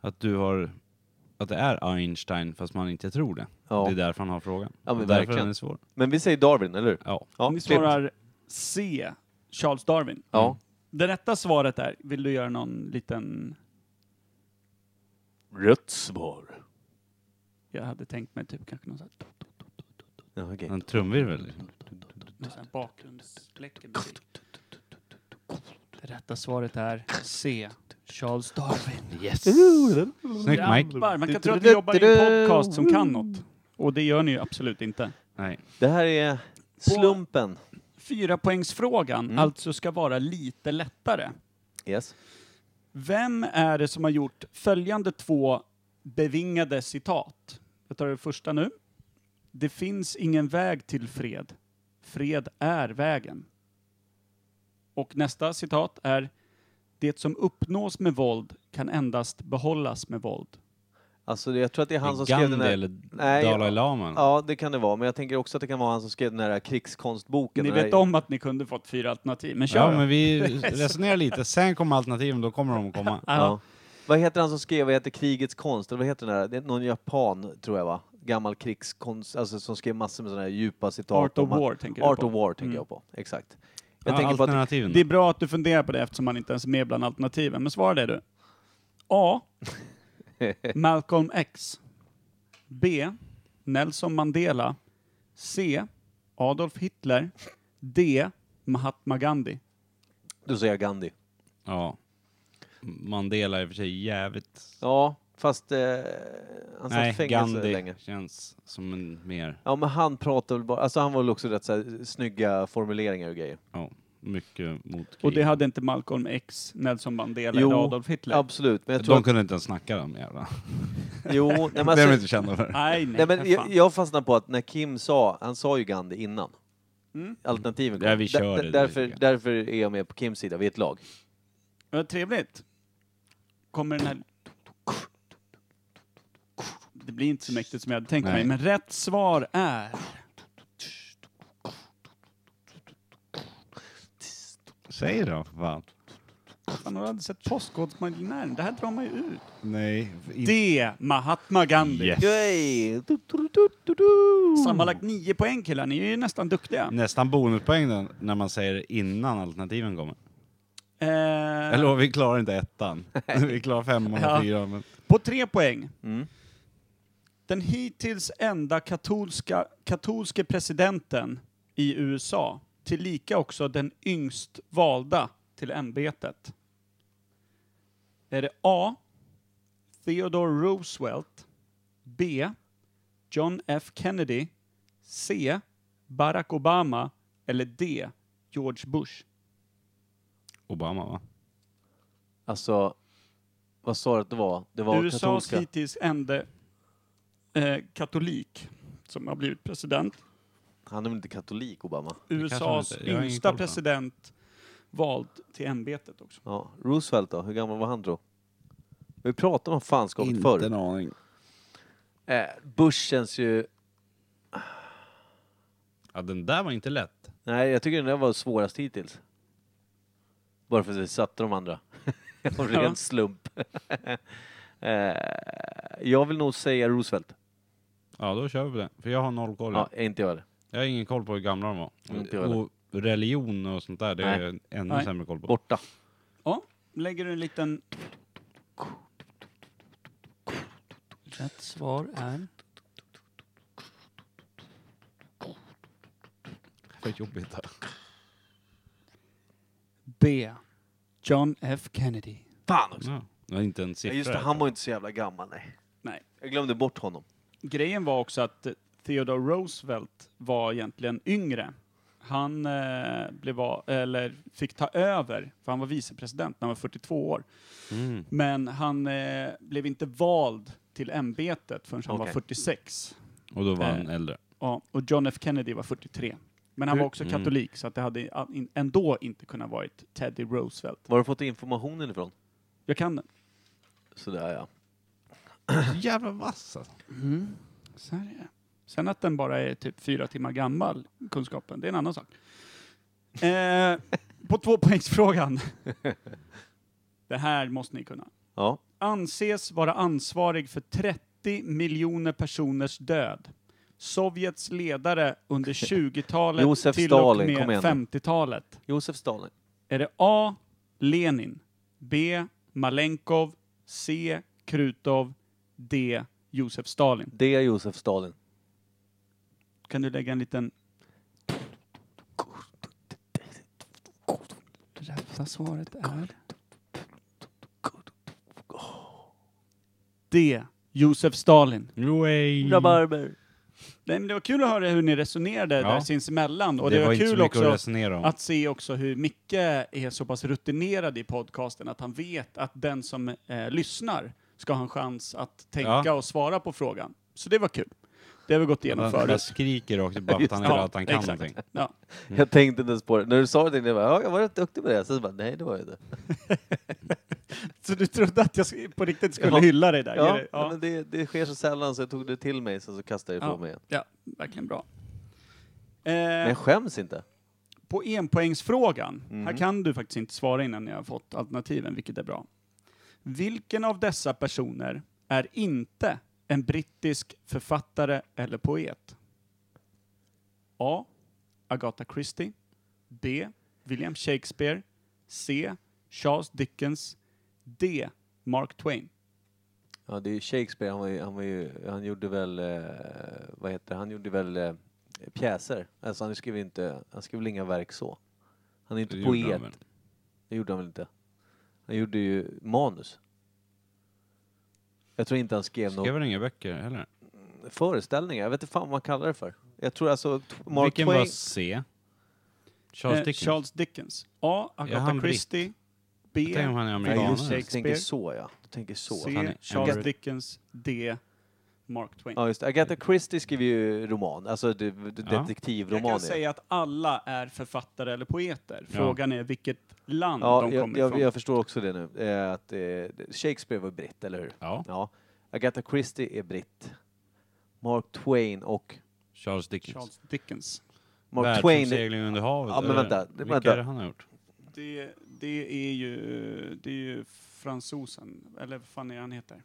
A: Att du har... Att det är Einstein fast man inte tror det.
C: ja.
A: Det är därför han har frågan.
C: Ja, men
A: därför
C: verkligen.
A: den är svår.
C: Men vi säger Darwin, eller hur?
A: Ja.
C: Ja,
B: Ni
C: klippt.
B: svarar C, Charles Darwin.
C: Ja.
B: Det rätta svaret är, vill du göra någon liten...
C: Rött svar.
B: Jag hade tänkt mig typ kanske någon sån här,
C: Ja, okej.
A: En trumvirvel.
B: någon sån här bakgrundsläcker musik. Det rätta svaret är C, Charles Darwin.
A: Yes! Snyggt Mike.
B: Grabbar, man kan tro att ni jobbar i en podcast som kan något. Och det gör ni ju absolut inte.
A: Nej.
C: Det här är slumpen.
B: Fyra poängsfrågan
C: Mm.
B: alltså ska vara lite lättare.
C: Yes.
B: Vem är det som har gjort följande två bevingade citat? Jag tar det första nu. Det finns ingen väg till fred. Fred är vägen. Och nästa citat är Det som uppnås med våld kan endast behållas med våld.
C: Alltså jag tror att det är han som skrev
A: Gandhi
C: den här...
A: eller
C: Nej,
A: Dalai
C: ja.
A: Lama?
C: Ja, det kan det vara. Men jag tänker också att det kan vara han som skrev den här krigskonstboken.
B: Ni
C: den här-
B: vet om att ni kunde fått fyra alternativ, men
A: Ja,
B: kör
A: men vi resonerar lite. Sen kommer alternativen, då kommer de att komma.
C: Ja. Vad heter han som skrev, vad heter krigets konst? Eller vad heter den där? Det är någon japan, tror jag va? Gammal krigskonst, alltså som skrev massor med sådana här djupa citat.
B: Art of
C: om att-
B: War tänker
C: Art
B: du
C: of
B: på.
C: War tänker
B: Mm.
C: jag på, exakt. Jag
A: Ja,
C: tänker på att det,
A: alternativen.
B: Det är bra att du funderar på det eftersom man inte ens är med bland alternativen, men svara det du. A. Malcolm X. B. Nelson Mandela. C. Adolf Hitler. D. Mahatma Gandhi.
C: du säger Gandhi.
A: Ja. Mandela är i och för sig jävligt...
C: Ja, fast eh, han satt i
A: Nej,
C: fängelse
A: Gandhi
C: länge.
A: känns som en mer...
C: Ja, men han pratade väl bara, alltså han var väl också rätt så här, snygga formuleringar och grejer.
A: Ja, mycket mot
B: Och
A: krig.
B: det hade inte Malcolm X, Nelson Mandela
C: Jo,
B: eller Adolf Hitler?
C: Absolut, men jag tror
A: De
C: att,
A: kunde inte ens snacka de jävla.
C: jo, nej, men
A: det är de
C: alltså-
A: inte kända för.
B: Nej, nej,
C: Nej,
B: för
C: men
B: fan.
C: jag, jag fastnar på att när Kim sa, han sa ju Gandhi innan.
B: Mm.
C: Alternativen
A: Ja, vi kör det.
C: därför, därför är jag med på Kims sida, vi är ett lag.
B: Vad trevligt. Kommer den här... Det blir inte så mäktigt som jag hade tänkt
A: Nej.
B: mig, men rätt svar är...
A: Säg då, för fan.
B: Fan, har du aldrig sett Postkodmiljonären? Det här drar man ju ut.
A: Nej. inte-
B: D. Mahatma Gandhi.
A: Yes.
C: Yay! Du, du, du, du, du.
B: Sammanlagt nio poäng killar, ni är ju nästan duktiga.
A: Nästan bonuspoäng då, när man säger innan alternativen kommer.
B: Eh,
A: Jag lovar, vi klarar inte ettan. vi klarar femman och
B: Ja.
A: fyran. Men...
B: på tre poäng.
C: Mm.
B: Den hittills enda katolska, katolske presidenten i USA, tillika också den yngst valda till ämbetet. Är det A. Theodore Roosevelt B. John F Kennedy C. Barack Obama eller D. George Bush?
A: Obama, va?
C: Alltså, vad sa du att det var? Det var
B: USAs
C: katolska.
B: hittills enda eh, katolik som har blivit president.
C: Han är väl inte katolik, Obama?
A: kanske han
B: USAs
A: inte- jag har ingen koll
B: yngsta
A: på.
B: president vald till ämbetet också.
C: Ja. Roosevelt då? Hur gammal var han då? Vi pratade om fanskapet
A: Inte
C: förr.
A: en aning.
C: Eh, Bush känns ju...
A: Ja, den där var inte lätt.
C: Nej, jag tycker den där var svårast hittills. Bara för att vi satte de andra. Av ren
B: Ja.
C: slump. eh, jag vill nog säga Roosevelt.
A: Ja, då kör vi på det. För jag har noll koll.
C: Ja, inte jag det.
A: Jag har ingen koll på hur gamla de var.
C: Inte jag heller.
A: och religion och sånt där, det har
C: Nej.
A: jag ännu
B: Nej.
A: sämre koll på.
C: Borta.
B: Ja, lägger du en liten... Rätt svar är...
A: Vad jobbigt det här.
B: B. John F Kennedy.
C: Fan också!
A: Ja. Det var inte en
C: Ja,
A: siffra.
C: just det, han var ju inte så jävla gammal. Nej.
B: Nej.
C: Jag glömde bort honom.
B: Grejen var också att eh, Theodore Roosevelt var egentligen yngre. Han eh, blev va- eller fick ta över, för han var vicepresident när han var 42 år.
A: Mm.
B: Men han eh, blev inte vald till ämbetet förrän han
C: Okej.
B: var 46.
A: Och då var
B: Eh.
A: han äldre.
B: Ja, och John F Kennedy var 43. Men han var också
A: Mm.
B: katolik, så att det hade a- in- ändå inte kunnat varit Teddy Roosevelt.
C: Var har du fått informationen ifrån?
B: Jag kan den.
C: Sådär ja.
A: Så jävla vass alltså.
B: Mm. Så här är det. Sen att den bara är typ fyra timmar gammal, kunskapen, det är en annan sak. Eh, på tvåpoängsfrågan. Det här måste ni kunna.
C: Ja.
B: anses vara ansvarig för 30 miljoner personers död. Sovjets ledare under 20-talet
C: Josef
B: till
C: Stalin,
B: och
C: kom
B: med
C: igen nu.
B: 50-talet.
C: Josef Stalin.
B: Är det A. Lenin, B. Malenkov, C. Krutov, D. Josef Stalin?
C: Det är Josef Stalin.
B: Kan du lägga en liten... Rätta svaret är... D. Josef Stalin.
A: Way.
C: Rabarber.
B: Nej, men det var kul att höra hur ni resonerade
A: Ja.
B: där sinsemellan. Och
A: det,
B: det,
A: var
B: var
A: inte så
B: kul
A: mycket
B: också
A: att resonera om.
B: att se också hur Micke är så pass rutinerad i podcasten att han vet att den som eh, lyssnar ska ha en chans att tänka
A: Ja.
B: och svara på frågan. Så det var kul. Det har vi gått igenom
A: han, han
B: förut.
A: skriker också bara för att
C: Just
A: han är
B: det.
A: glad att han kan liksom.
B: Exakt.
A: någonting.
B: Ja.
C: Jag tänkte inte ens på det. När du sa det tänkte jag bara, ja, jag var rätt duktig på det. Sen så bara, nej det var jag inte.
B: Så du trodde att jag sk- på riktigt skulle
C: Ja.
B: hylla dig där?
C: Ja,
B: Jerry? ja.
C: Men det, det sker så sällan så jag tog det till mig sen så kastade jag
B: Ja.
C: ifrån mig igen.
B: ja verkligen bra.
C: Men
B: Eh,
C: jag skäms inte.
B: på enpoängsfrågan,
C: Mhm.
B: här kan du faktiskt inte svara innan jag har fått alternativen, vilket är bra. Vilken av dessa personer är inte en brittisk författare eller poet? A. Agatha Christie. B. William Shakespeare. C. Charles Dickens. D. Mark Twain.
C: Ja, det är ju Shakespeare, han, var ju, han, var ju, han gjorde väl, eh, vad heter det, han gjorde väl eh, pjäser. Alltså han skrev inte, han skrev väl inga verk så. Han är inte
A: Det gjorde
C: poet.
A: han väl.
C: Det gjorde han väl inte. Han gjorde ju manus. Jag tror inte han skrev
A: Skrev
C: några
A: han inga böcker heller?
C: föreställningar. Jag vet inte fan vad man kallar det för. Jag tror alltså t- Mark
A: Vilken
C: Twain.
A: var C? Charles
B: Eh,
A: Dickens?
B: Charles Dickens. A. Agatha
A: han britt?
B: Christie.
A: Jag
B: B.
A: tänker om han är
C: Ja,
A: amerikanare.
C: just det.
A: Shakespeare.
C: Du tänker
B: Shakespeare.
C: så ja. Du tänker så.
B: C.
A: Han är-
B: Charles
A: han-
B: Dickens. D. Mark Twain.
C: Ja, just det. Agatha Christie skriver ju roman, alltså de, de,
A: Ja.
C: detektivroman.
B: Jag kan
C: ju.
B: säga att alla är författare eller poeter.
A: Ja.
B: Frågan är vilket land
C: ja,
B: Mm, de
C: jag,
B: kommer
C: jag,
B: ifrån.
C: jag förstår också det nu. Eh, att, eh, Shakespeare var britt, eller hur?
A: Ja,
C: Ja. Agatha Christie är britt. Mark Twain och...
A: Charles Dickens.
B: Charles Dickens.
C: Mark Twain... är-
A: Världsomsegling under havet.
C: Ja, men
A: eller?
C: vänta, det-
A: Vilka
C: vänta.
A: är det han har gjort?
B: Det, det är ju, det är ju fransosen, eller vad fan är han heter?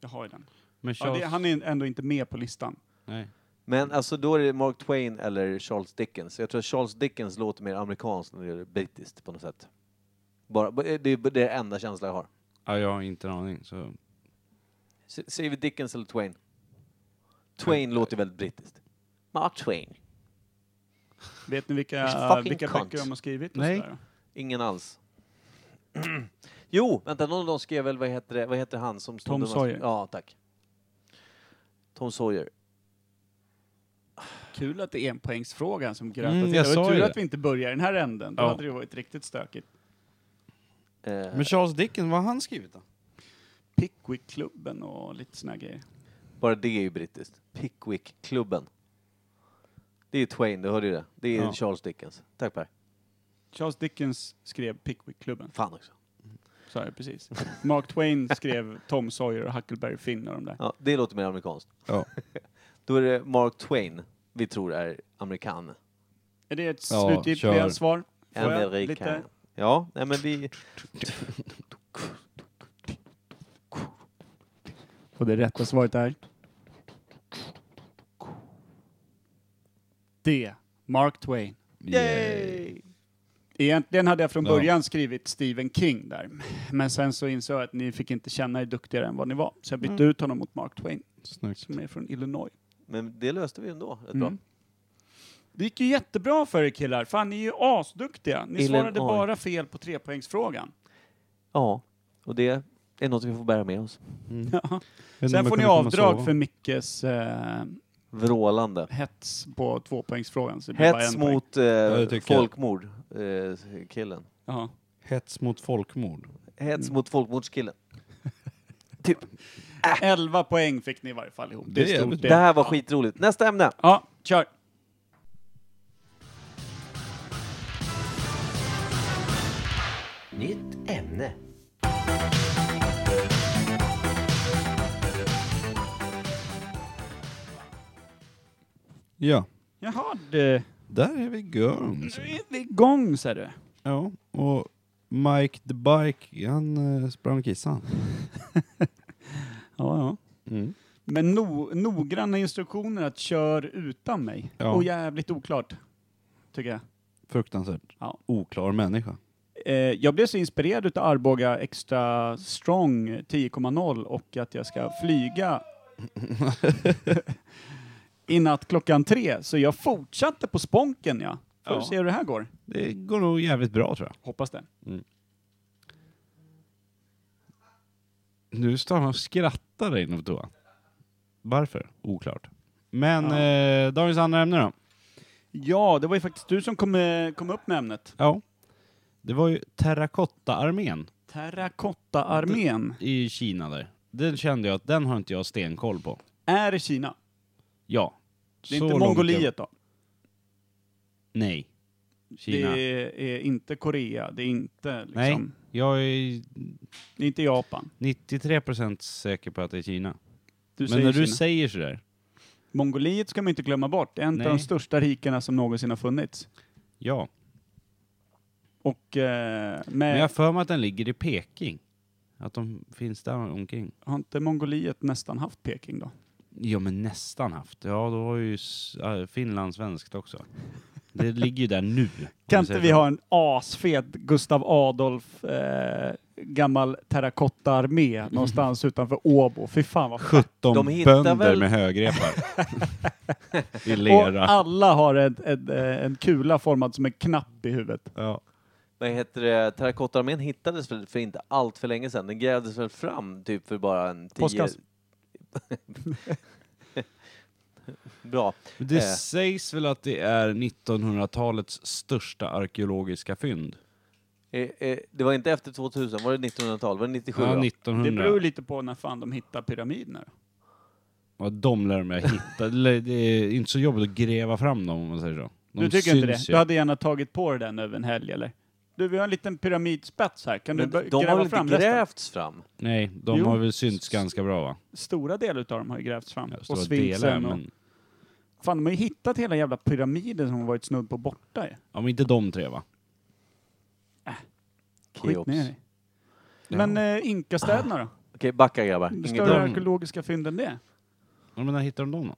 B: Jag har ju den.
A: Men
B: Ja,
A: Charles...
B: det, han är ändå inte med på listan.
A: Nej.
C: Men alltså då är det Mark Twain eller Charles Dickens. Jag tror att Charles Dickens låter mer amerikanskt än det gör brittiskt på något sätt. Bara, eh, det är det är den enda känslan jag har.
A: Ja, jag har inte en aning. Så.
C: S- Säger vi Dickens eller Twain? Twain låter väldigt brittiskt. Mark Twain.
B: Vet ni vilka,
C: He's fucking
B: vilka
C: cunt.
B: böcker de har skrivit? Och
A: Nej.
B: sådär?
C: Ingen alls. jo, vänta, någon av dem skrev väl, vad heter, det, vad heter han som stod
B: Tom
C: och-
B: Sawyer.
C: Ja, tack. Tom Sawyer.
B: Kul att det är en poängsfråga som grötar
A: Mm,
B: till.
A: jag
B: Det var
A: sa
B: tur
A: ju
B: att
A: det.
B: vi inte börjar i den här änden. Då
A: Ja.
B: hade det varit riktigt stökigt.
C: Eh,
A: Men Charles Dickens, vad har han skrivit då?
B: Pickwickklubben och lite såna här grejer.
C: bara det är ju brittiskt. Pickwick-klubben. Det är Twain, du hörde ju det. Det är
A: Ja.
C: Charles Dickens. Tack Per.
B: Charles Dickens skrev Pickwickklubben.
C: Fan också.
B: Så är det precis. Mark Twain skrev Tom Sawyer och Huckleberry Finn och de där.
C: Ja, det låter mer amerikanskt.
A: Ja.
C: Då är det Mark Twain vi tror är amerikan.
B: Är det ett
A: Ja,
B: slutgiltiga
A: kör.
B: svar? Får jag
C: Amerikan.
B: lite?
C: Ja, nej men vi...
B: Och det rätta svaret är? D. Mark Twain. Yay! Egentligen hade jag från
A: Ja.
B: början skrivit Stephen King där. Men sen så insåg jag att ni fick inte känna er duktigare än vad ni var. Så jag bytte
C: Mm.
B: ut honom mot Mark Twain,
A: Snyggt.
B: som är från Illinois.
C: Men det löste vi ändå rätt bra.
B: Mm. Det gick ju jättebra för er killar. Fan, ni är ju asduktiga. Ni
C: Illinois.
B: svarade bara fel på trepoängsfrågan.
C: Ja, och det är något vi får bära med oss.
A: Mm.
B: Sen får ni avdrag för Mickes eh,
C: Vrålande.
B: hets på tvåpoängsfrågan. Så det blir bara
C: Hets
B: en poäng.
C: mot eh,
A: det tycker jag.
C: folkmord, eh, killen.
B: Ja.
A: Hets mot folkmord.
C: Hets mot folkmordskillen. Typ,
B: Elva poäng fick ni i varje fall ihop.
A: Det är jävligt
C: Det här var skitroligt. Nästa ämne!
B: Ja, kör.
H: Nytt ämne.
A: Ja,
B: Jaha, du.
A: där är vi igång.
B: Nu är vi igång, säger du.
A: Ja, och Mike the Bike, han eh, sprang och kissade.
B: Ja, ja.
A: Mm.
B: Men no, noggranna instruktioner att kör utan mig.
A: Ja.
B: Och jävligt oklart, tycker jag.
A: Fruktansvärt
B: Ja.
A: oklar människa.
B: Eh, jag blev så inspirerad utav Arboga Extra Strong 10,0 och att jag ska flyga innan klockan tre. Så jag fortsatte på sponken, ja. Får
A: Ja.
B: se hur det här går.
A: Det går nog jävligt bra tror jag.
B: Hoppas det.
A: Nu står han och skrattar där inne på toan. Varför? Oklart. Men
B: Ja.
A: eh, dagens andra ämne då.
B: Ja, det var ju faktiskt du som kom, eh, kom upp med ämnet.
A: Ja. Det var ju Terrakotta-armén
B: Terrakotta-armén
A: i Kina där. Den kände jag att den har inte jag stenkoll på.
B: är i Kina.
A: Ja.
B: Det är
A: Så
B: inte
A: långt jag-
B: Mongoliet då.
A: Nej. Kina.
B: Det är inte Korea. Det är inte liksom...
A: Nej. Jag är
B: Inte Japan.
A: 93% säker på att det är Kina.
B: Du
A: Men
B: säger
A: när
B: Kina.
A: du säger sådär,
B: Mongoliet ska man inte glömma bort. Det är En av
A: Nej.
B: de största rikena som någonsin har funnits.
A: ja.
B: Och eh, med,
A: Men jag har för mig att den ligger i Peking. Att de finns där omkring.
B: har inte Mongoliet nästan haft Peking då?
A: Ja men nästan haft. Ja då har ju s- äh, Finland svenskt också. Det ligger ju där nu. om
B: Kan
A: säger
B: inte vi
A: så.
B: ha en asfet Gustav Adolf eh, gammal terrakottaarmé någonstans utanför Åbo? Fy fan vad fett.
A: 17
C: De hittar
A: bönder
C: väl-
A: med högrepar. I
B: Och
A: lera.
B: alla har en, en, eh, en kula formad som en knapp i huvudet.
A: Ja.
C: Vad heter det? Terrakottararmén hittades för, för inte allt för länge sedan. Den grävdes väl fram typ för bara en tio...
B: Påskas.
C: Bra.
A: Men Det
C: Eh.
A: sägs väl att det är 1900-talets största arkeologiska fynd?
C: Eh, eh, det var inte efter 2000, var det 1900-tal? Var det 97?
A: Ja,
C: va?
A: 1900.
B: Det beror lite på när fan de hittar pyramiderna. då.
A: Ja, de lär mig hitta. Eller, Det är inte så jobbigt att gräva fram dem om man säger så. De
B: Du tycker inte det?
A: syns ju.
B: Du hade gärna tagit på dig den över en helg eller? Du, vi har en liten pyramidspets här. Kan
C: Men
B: du bör-
C: de har
B: gräva
C: väl
B: fram
C: inte
B: resten?
C: grävts fram?
A: Nej, de
B: Jo.
A: har väl synts ganska bra va?
B: Stora delar utav dem har ju grävts fram.
A: Ja,
B: och
A: stora delar,
B: sfinxen och...
A: men,
B: Fan, de har ju hittat hela jävla pyramiden som har varit snudd på borta ju.
A: ja, men inte de tre va?
B: Skit
C: Keops.
B: ner i. Men eh, inkastäderna då?
C: Okej, backa grabbar.
B: Hur
C: Inget
B: större
A: de-
B: arkeologiska fynd än det?
A: Ja, men när hittade de dem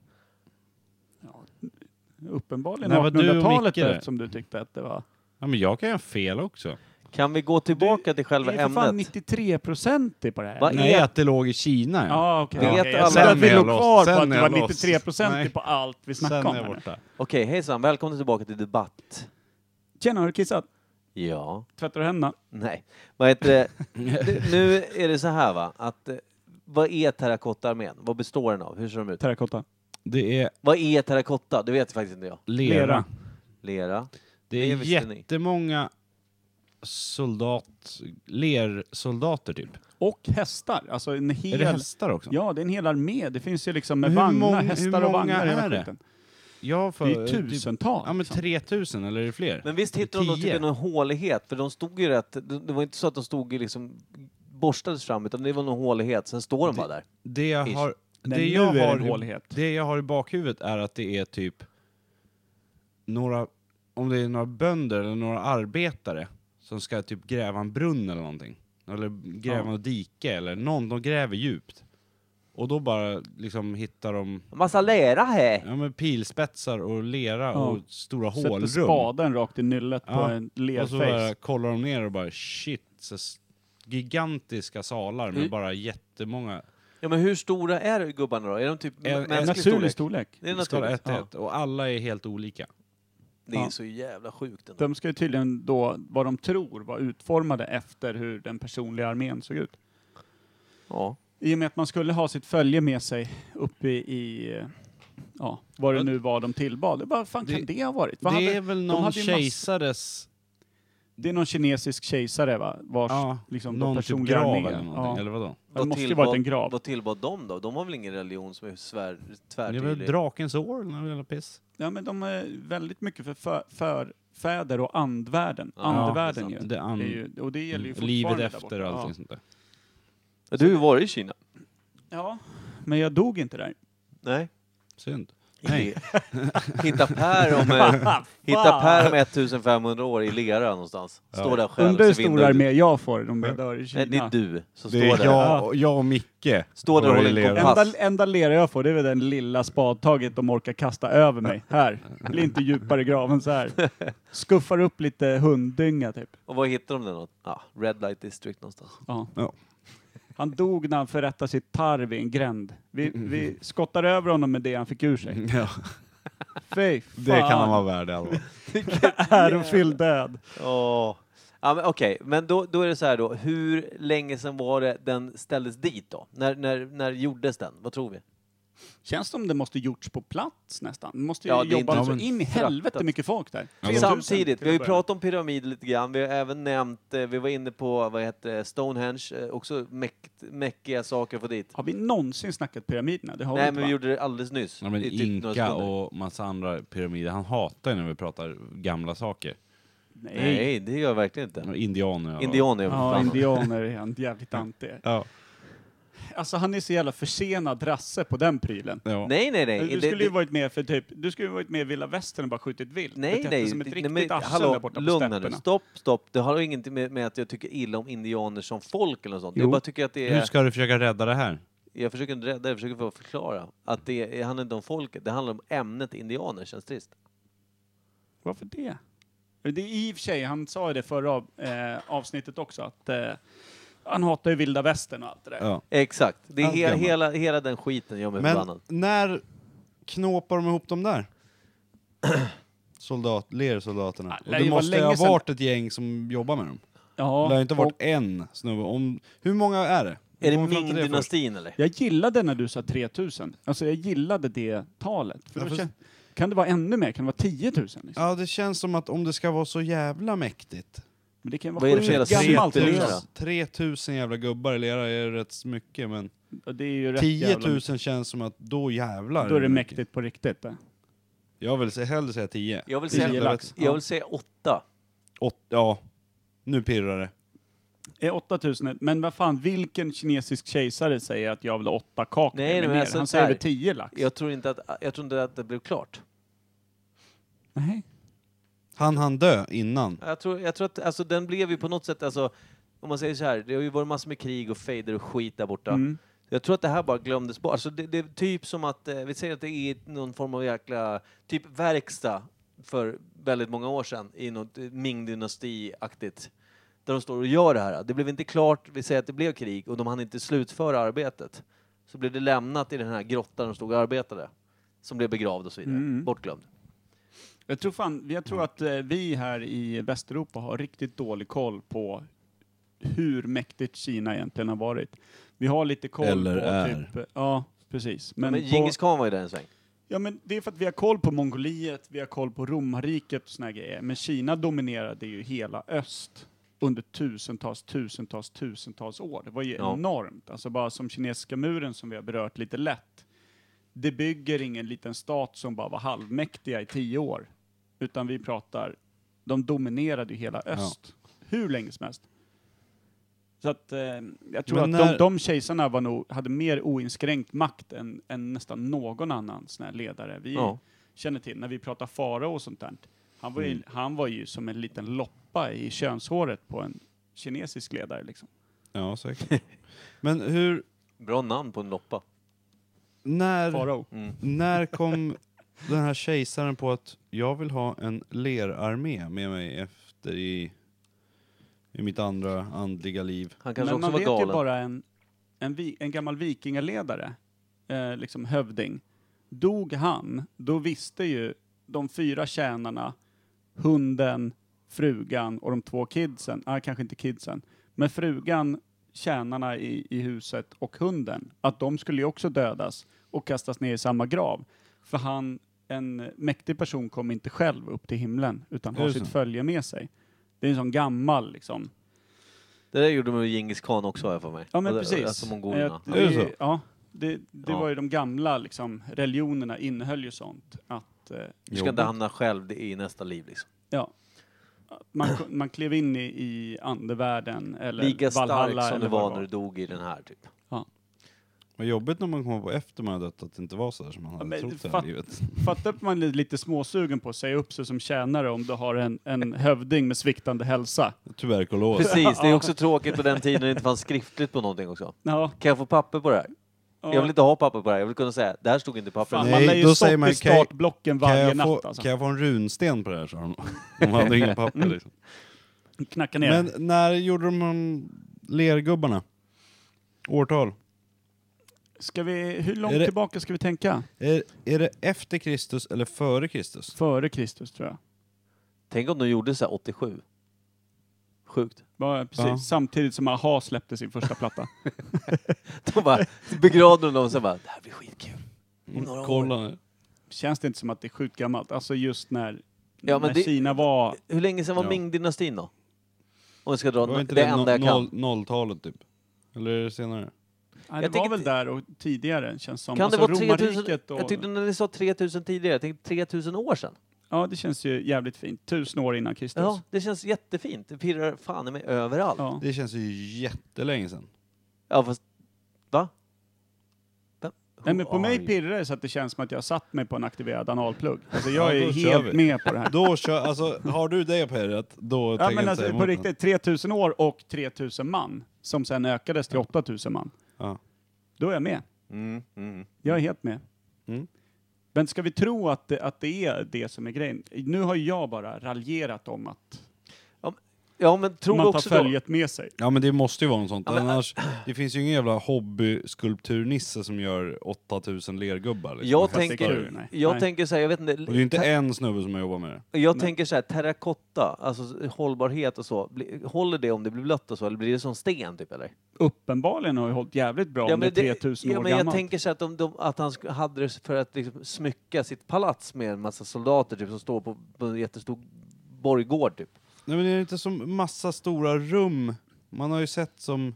A: då?
B: Uppenbarligen
A: När var du och
B: 1800-talet
A: Micke där?
B: där, som du tyckte att det var.
A: Ja, men jag kan ju ha fel också.
C: Kan vi gå tillbaka till
B: Det
C: själva
B: är för fan
C: ämnet?
B: 93 procent på det här.
C: Va?
A: Nej,
C: är-
A: att det låg i Kina. Ja.
B: Ja, okej.
C: Vet
B: okej. Jag
C: alla-
B: trodde att
A: Sen är
B: vi
A: jag
B: låg
A: lost.
B: kvar på
A: Sen
B: att
A: är
B: det
A: jag
B: var 93
A: Nej.
B: procent på allt vi
A: Sen
B: snackade om.
A: är jag
B: här nu.
A: borta.
C: Okej, hejsan. Välkomna tillbaka till debatt.
B: Tjena, har du kissat?
C: Ja.
B: Tvättar du händerna?
C: Nej. Vad heter det? Nu- nu är det så här va, att eh, vad är terrakottararmén? Vad består den av? Hur ser de ut?
B: Terrakotta.
A: Det är
C: Vad är terrakotta? Det vet faktiskt inte jag.
A: lera.
B: Lera.
C: Lera.
A: Det
C: Det
A: är
C: visste ni.
A: jättemånga soldat, lersoldater typ.
B: Och hästar. Alltså en hel...
A: Är det hästar också?
B: Ja, det är en hel armé. Det finns ju liksom med
A: Men hur många-
B: vagnar,
A: hur
B: hästar och
A: många
B: vagnar. i hela
A: är det?
B: skiten.
A: Jag för,
B: Det är
A: Typ,
B: tusentals.
A: ja men
B: liksom.
A: 3000 eller är det fler?
C: Men visst hittade de då typ
A: Tio.
C: i någon hålighet? För de stod ju rätt... Det det var inte så att de stod ju liksom borstades fram utan det var någon hålighet, sen står de bara där.
A: det jag
C: ish.
A: har,
B: Men
A: det
B: nu
A: jag
B: är det
A: har,
B: en hålighet.
A: det jag har i bakhuvudet är att det är typ några, om det är några bönder eller några arbetare som ska typ gräva en brunn eller någonting. Eller gräva
B: Ja.
A: något dike eller någon, de gräver djupt. Och då bara liksom hittar de
C: Massa lera här!
A: ja, men pilspetsar och lera
B: Ja.
A: och stora
B: Sätter
A: hålrum.
B: spaden rakt i nyllet på
A: Ja,
B: en
A: Och så
B: lerface.
A: bara kollar de ner och bara shit, så s- gigantiska salar med
C: Mm.
A: bara jättemånga.
C: Ja men hur stora är gubbarna då? Är de typ
A: En- en
C: mänsklig
B: Naturlig
C: storlek?
B: storlek.
C: Det är
A: Skala
C: naturligt.
A: 1 ja. och alla är helt olika.
C: Det är
B: Ja.
C: så jävla sjukt ändå.
B: De ska ju tydligen då, vad de tror, vara utformade efter hur den personliga armén såg ut.
C: Ja.
B: I och med att man skulle ha sitt följe med sig uppe i, i eh, ja, vad det nu var de tillbad. Vad fan kan
A: Det-
B: det ha varit? Vad
A: det
B: hade-
A: är väl
B: de
A: någon
B: hade ju mass-
A: kejsares
B: det är någon kinesisk kejsare va? Vars,
A: ja,
B: liksom,
A: någon typ
B: personliga
A: grav
B: armé.
A: eller någonting,
B: Ja.
A: eller vadå?
B: Det måste ju varit en grav.
C: Vad tillbad de då? De har väl ingen religion som är svär,
A: Det är väl
C: tvärtydlig?
A: drakens år eller något jävla piss?
B: Ja, men de är väldigt mycket för, för, för fäder och andvärlden.
C: Ja,
B: andvärlden
C: det är
B: ju.
A: Det är an-
B: Det är ju. Och det gäller ju fortfarande
A: livet
B: där
A: efter och
B: borta.
A: allting sånt där.
C: Du har ju varit i Kina.
B: Ja. ja, men jag dog inte där.
C: Nej.
A: Synd. Nej.
C: hitta Per om, eh, hitta per om 1500 år i lera någonstans. Står där själv.
B: Undrar hur
C: ser
B: stor
C: vinden
B: armé jag får om jag dör i
C: ut. Nej, det
B: Kina.
C: är du som står där.
A: och, jag och Micke.
C: Står där och håller en kompass.
B: Enda, enda lera jag får, det är väl den lilla spadtaget de orkar kasta över mig. Här. Blir inte djupare i graven så här. Skuffar upp lite hunddynga typ.
C: Och var hittar de den då? Ja, Red Light District någonstans.
B: Ja.
A: Ja.
B: Han dog när han förrättade sitt tarv i en gränd. Vi, vi skottar över honom med det han fick ur sig.
A: Ja,
B: Fy fan.
A: det kan han vara värd i alla
B: alltså.
A: fall.
B: Ärofylld död.
C: Åh. Ja, men okej, men då, då är det så här då. Hur länge sedan var det den ställdes dit då? När, när, när gjordes den? Vad tror vi?
B: Känns som det måste gjorts på plats nästan. Det måste ju
C: Ja, det är
B: jobba
C: inte-
B: så
A: Ja, men-
B: in i helvete
C: fraktat.
B: mycket folk där.
A: Ja, de-
B: 3000
C: Samtidigt,
B: till
C: vi har ju
B: att börja med.
C: pratat om pyramider lite grann. Vi har även nämnt, eh, vi var inne på vad heter det, Stonehenge, eh, också mäkt, mäckiga saker att få dit.
B: Har vi någonsin snackat pyramiderna? Det har
C: Nej,
B: vi inte
C: men vi
B: va?
C: gjorde det alldeles nyss.
A: Ja, men
C: i typ några
A: Inka
C: sekunder.
A: och massa andra pyramider, han hatar ju när vi pratar gamla saker.
B: Nej.
C: Nej, det gör jag verkligen inte.
I: Indianer. ja.
C: Indianer är
B: Ja,
C: för fan.
B: indianer är han jävligt anti.
I: Ja.
B: Alltså han är så jävla försenad rasse på den prylen.
I: Ja.
C: Nej, nej, nej.
B: Du
C: Det-
B: skulle ju
C: det-
B: varit med för typ, du skulle ju varit med i Vilda Västern och bara skjutit vilt.
C: Nej,
B: Betett dig
C: nej.
B: Som ett
C: det-
B: riktigt
C: nej, men
B: arsel där borta på
C: lugna nu.
B: stäpperna.
C: Stopp, stopp. Det har ju ingenting med, med att jag tycker illa om indianer som folk eller något sånt. Jag
B: Jo.
C: bara tycker att det
I: Hur
C: är...
I: ska du försöka rädda det här?
C: Jag försöker inte rädda det, jag försöker bara förklara. Att det, är- det handlar inte om folket, det handlar om ämnet indianer, känns trist.
B: Varför det? Det är i och för sig, han sa ju det förra av- eh, avsnittet också, att eh, han hatar ju Vilda Västern och allt det där.
I: Ja.
C: Exakt. Det är
I: Allt
C: he,
I: gammalt.
C: hela, hela den skiten gör mig
A: Men
C: förbannad.
A: när knåpar de ihop dem där? Soldat, lersoldaterna.
B: Ah,
A: Och
B: lär
A: det
B: ju vara
A: måste ju
B: länge
A: ha
B: sedan-
A: varit ett gäng som jobbar med dem.
B: Ja,
A: det har inte varit
B: och
A: en snubbe. Om, hur många är det?
C: Är det
A: Kom fram till det först.
C: Ming-dynastin eller?
B: jag gillade när du sa 3000. Alltså jag gillade det talet. För
A: Ja,
B: då
A: fast-
B: kän- Kan det vara ännu mer? Kan det vara 10 000? Liksom?
A: Ja, det känns som att om det ska vara så jävla mäktigt.
B: Men det kan
C: Vad
B: vara
C: är det för
B: sjukt
C: jävla
B: gammalt.
C: sete
B: hus.
C: lera?
A: 3000 jävla gubbar i lera är rätt mycket, men
B: Ja, Det är ju rätt
A: 10 000
B: jävla-
A: känns som att då jävlar.
B: Då är det mäktigt på riktigt. eh.
A: Jag vill se- hellre säga 10.
C: Jag vill
A: Det känns
B: Tio
C: säga,
A: rätt-
C: jag vill säga åtta.
A: Åt, ja, nu pirrar det.
B: Är 8000, Eh, men vad fan, vilken kinesisk kejsare säger att jag vill ha åtta kakor?
C: Nej,
B: eller
C: men
B: mer?
C: alltså,
B: Han säger
C: där-
B: väl 10 lax?
C: Jag tror inte att, jag tror inte att det blev klart.
B: Nej.
A: Han han dö innan.
C: Jag tror, jag tror att alltså, den blev ju på något sätt, alltså, om man säger så här, det har ju varit massor med krig och fejder och skit där borta.
B: Mm.
C: Jag tror att det här bara glömdes bort. Alltså, det, det är typ som att, eh, vi säger att det är någon form av jäkla, typ verkstad för väldigt många år sedan i något eh, Ming-dynasti-aktigt. Där de står och gör det här. Det blev inte klart, vi säger att det blev krig och de hann inte slutföra arbetet. Så blev det lämnat i den här grottan de stod och arbetade. Som blev begravd och så vidare.
B: Mm.
C: Bortglömd.
B: Jag tror fan, jag tror att eh, vi här i Västeuropa har riktigt dålig koll på hur mäktigt Kina egentligen har varit. Vi har lite koll
I: Eller
B: på
I: är.
B: typ, ja precis. Men,
C: Men,
B: på,
C: Djingis khan var ju där en sväng.
B: ja, men det är för att vi har koll på Mongoliet, vi har koll på romarriket och såna grejer. Men Kina dominerade ju hela öst under tusentals, tusentals, tusentals år. Det var ju
C: Ja.
B: enormt. Alltså bara som kinesiska muren som vi har berört lite lätt. Det bygger ingen liten stat som bara var halvmäktiga i tio år. Utan vi pratar, de dominerade ju hela öst. Hur länge som helst. Så att eh, jag tror
A: Men
B: att de,
A: när-
B: de kejsarna var nog, hade mer oinskränkt makt än, än nästan någon annan sån här ledare vi
C: Ja.
B: känner till. När vi pratar farao och sånt där. Han var, ju, han var ju som en liten loppa i könshåret på en kinesisk ledare liksom.
A: Ja, säkert. Men hur,
C: Bra namn på en loppa.
A: när,
B: Farao.
C: Mm.
A: när kom den här kejsaren på att jag vill ha en lerarmé med mig efter i, i mitt andra andliga liv?
C: Han kanske
B: Men man
C: också var
B: vet
C: galen.
B: ju bara en, en, vi, en gammal vikingaledare, eh, liksom hövding. Dog han, då visste ju de fyra tjänarna, hunden, frugan och de två kidsen, ah, kanske inte kidsen, men frugan, tjänarna i, i huset och hunden, att de skulle ju också dödas och kastas ner i samma grav. För han, en mäktig person, kom inte själv upp till himlen, utan
A: Är
B: har
A: det
B: sitt
A: så?
B: följe med sig. Det är en sån gammal liksom,
C: Det där gjorde de med Djingis khan också har jag för mig.
B: Ja men
C: Alltså,
B: precis.
C: Alltså mongolerna.
B: Eh,
A: Är det
B: det,
A: så?
B: ja, det, det
C: Ja.
B: var ju de gamla liksom, religionerna innehöll ju sånt. Att, eh,
C: Du ska inte hamna själv det är i nästa liv liksom.
B: ja, att man, ko- man klev in i, i andevärlden eller
C: Lika
B: Valhalla
C: stark som du
B: eller vad
C: var
B: det
C: när du dog i den här typ.
A: Vad jobbigt när man kommer på efter man har dött att det inte var så där som man hade
B: men
A: trott det här
B: fatt-
A: livet.
B: Fattar att man är lite småsugen på att säga upp sig som tjänare om du har en, en hövding med sviktande hälsa.
A: Tuberkulos.
C: Precis, det är också tråkigt på den tiden det inte fanns skriftligt på någonting också.
B: Ja,
C: Kan jag få papper på det här?
B: ja.
C: Jag vill inte ha papper på det här, jag vill kunna säga det här stod inte i pappret.
B: Fan,
A: Nej,
B: man lär ju
A: då
B: stopp
A: säger man,
B: i
A: kan jag-
B: startblocken
A: Kan
B: varje
A: jag,
B: natt
A: få,
B: alltså.
A: kan jag få en runsten på det här, sa de. De hade ingen papper liksom.
B: Knacka ner.
A: Men när gjorde de de lergubbarna? Årtal?
B: ska vi, hur långt
A: Är det-
B: tillbaka ska vi tänka?
A: Är, är det efter Kristus eller före Kristus?
B: Före Kristus tror jag.
C: Tänk om de gjorde så här 87. Sjukt.
B: Ja, precis.
A: Ja.
B: Samtidigt som Aha släppte sin första platta.
C: De bara begravde dem och sen bara, det här blir skitkul. Om några år.
A: Kolla nu.
B: Känns det inte som att det är sjukt gammalt? Alltså just när,
C: Ja, men
B: när
C: det-
B: Kina var...
C: Hur länge sedan var
A: Ja.
C: Ming-dynastin då? Om jag ska dra
A: Var
C: det,
A: inte
C: det
A: det,
C: enda jag kan.
A: noll, nolltalet typ? Eller är det senare?
B: Nej, det var
C: Jag tycker
B: väl
C: att-
B: där och tidigare känns som.
C: Kan
B: alltså
C: det vara 3000?
B: romarriket och...
C: Jag tyckte när ni sa 3000 tidigare, jag tänkte 3000 år sedan.
B: Ja, det känns ju jävligt fint. Tusen år innan Kristus.
C: Ja, det känns jättefint. Det pirrar fan i mig överallt.
B: Ja.
A: Det känns ju jättelänge sedan.
C: Ja, fast... Va? Va?
B: Nej,
C: Who
B: men på
C: are
B: mig
C: you?
B: pirrar det så att det känns som att jag har satt mig på en aktiverad analplugg. Alltså
A: Ja,
B: jag
A: då
B: är
A: kör
B: helt
A: vi.
B: med på det här.
A: Då kör, alltså, har du det på herret, då
B: Ja
A: tänker jag
B: men
A: inte
B: alltså
A: säga
B: på
A: emot något.
B: riktigt, 3000 år och 3000 man. Som sen ökades till 8000 man.
A: Ja.
B: Då är jag med.
C: Mm, mm.
B: Jag är helt med.
A: Mm.
B: Men ska vi tro att det, att det är det som är grejen? Nu har jag bara raljerat om att
C: Ja, men tror
B: man tar
C: också då...
B: följet med sig.
A: Ja men det måste ju vara något sånt.
C: Ja, men-
A: Annars, det finns ju ingen jävla hobbyskulpturnisse som gör 8000 lergubbar. Liksom.
C: Jag
A: Fattar
C: tänker-
A: du?
B: Nej.
C: Jag
B: Nej.
C: tänker så här, jag vet
A: Och det är ju
C: inte...
A: inte en snubbe som har jobbat med det.
C: Jag
B: Nej.
C: tänker så här, terrakotta, alltså hållbarhet och så. bli- Håller det om det blir blött och så, eller blir det som sten typ eller?
B: Uppenbarligen har jag hållit jävligt bra om det är 3000
C: ja,
B: år
C: men jag
B: gammalt.
C: tänker så här att, de, de, att han sk- hade det för att liksom smycka sitt palats med en massa soldater typ, som står på, på en jättestor borggård typ.
A: Nej men det är inte som massa stora rum. Man har ju sett som...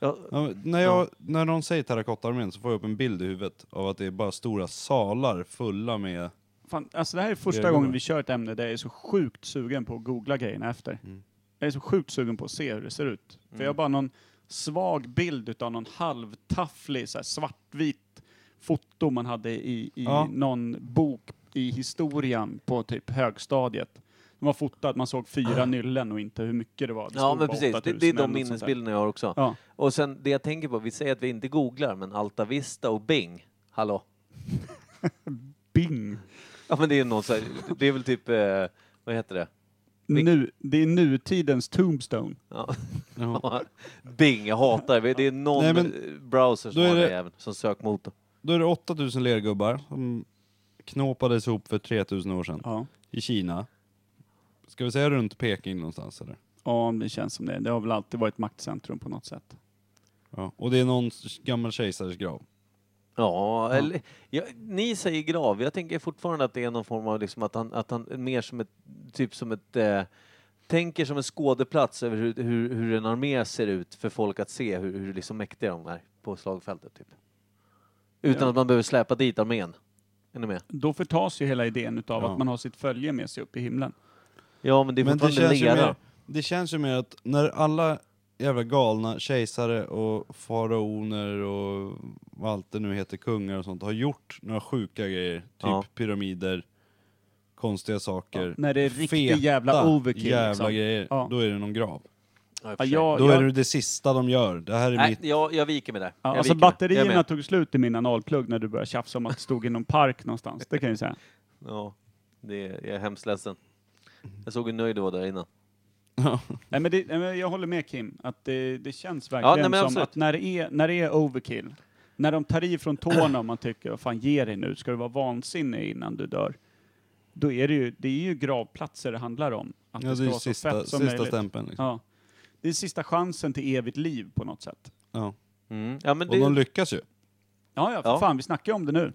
C: Ja,
A: Ja, men När, jag, när någon säger terrakottararmén så får jag upp en bild i huvudet av att det är bara stora salar fulla med...
B: Fan, alltså det här är första
A: Lergubbar.
B: gången vi kör ett ämne där jag är så sjukt sugen på att googla grejerna efter.
A: Mm.
B: Jag är så sjukt sugen på att se hur det ser ut. För jag har bara någon svag bild utav någon halvtafflig så här svartvit foto man hade i, i
A: Ja.
B: någon bok i historien på typ högstadiet. De var fotat, man såg fyra nyllen och inte hur mycket det var. Det
C: ja
B: stod
C: men
B: bara
C: precis, det,
B: 8000
C: det är
B: eller
C: de
B: något sånt där.
C: minnesbilderna jag har också.
B: Ja.
C: Och sen det jag tänker på, vi säger att vi inte googlar, men Alta Vista och Bing, hallå?
B: Bing!
C: Ja men det är någon så här, det är väl typ, eh, vad heter det? Vilk-
B: Nu, det är nutidens Tombstone.
C: Ja. Bing, jag hatar det. Det är någon
A: Nej, men
C: eh, browser som
A: då är
C: har
A: det-
C: det även, som sökmotor.
A: Då är det 8000 lergubbar som knåpades ihop för 3000 år sedan
B: Ja.
A: i Kina. Ska vi säga runt Peking någonstans eller?
B: ja, det känns som det. Det har väl alltid varit maktcentrum på något sätt.
A: Ja. Och det är någon s- gammal kejsares grav.
C: Ja, eller... Ja, ni säger grav. Jag tänker fortfarande att det är någon form av liksom att han, att han är mer som ett... Typ som ett... Eh, tänker som en skådeplats över hur, hur, hur en armé ser ut för folk att se hur, hur liksom mäktiga de är på slagfältet. Typ. Utan
B: Ja.
C: att man behöver släpa dit armén. Är ni med?
B: Då förtas ju hela idén utav
A: Ja.
B: att man har sitt följe med sig upp i himlen.
C: Ja, men det är
A: Men det
C: fortfarande
A: känns, ju
C: lera.
A: mer, det känns ju mer att när alla jävla galna kejsare och faraoner och vad allt det nu heter, kungar och sånt, har gjort några sjuka grejer. Typ
C: Ja.
A: pyramider, konstiga saker.
B: Ja, när det är riktig jävla overkill,
A: jävla
B: liksom.
A: grejer,
B: Ja.
A: då är det någon grav.
C: Ja, i och
B: Ja,
C: för sig.
B: jag,
A: Då
B: jag,
A: är det det sista de gör. Det här är
C: Nej,
A: mitt...
C: jag, jag viker mig där.
B: ja,
C: jag
B: alltså
C: viker mig. Jag är
B: batterierna
C: med.
B: tog slut i min analplugg när du började tjafsa om att det stod i någon park någonstans. Det kan jag ju säga.
C: Ja, det är, jag är hemskt ledsen. Jag såg hur nöjd du var där innan.
B: Nej, men det, nej, men jag håller med Kim, att det, det känns
C: nej,
B: verkligen
C: men
B: som
C: absolut.
B: att när det, är, när det är overkill, när de tar i från tårna och man tycker, vad fan ge dig nu, ska du vara vansinnig innan du dör? Då är det ju, det är ju gravplatser det handlar om. Att
A: Ja, det är
B: det ska
A: ju
B: vara så
A: sista,
B: fett som
A: sista
B: möjligt.
A: stämpeln. Liksom.
B: Ja. Det är sista chansen till evigt liv på något sätt.
A: Ja.
C: Mm. Ja, men
A: Och
C: det,
A: de lyckas ju.
B: Ja, ja, för
C: Ja.
B: fan, vi snackar ju om det nu.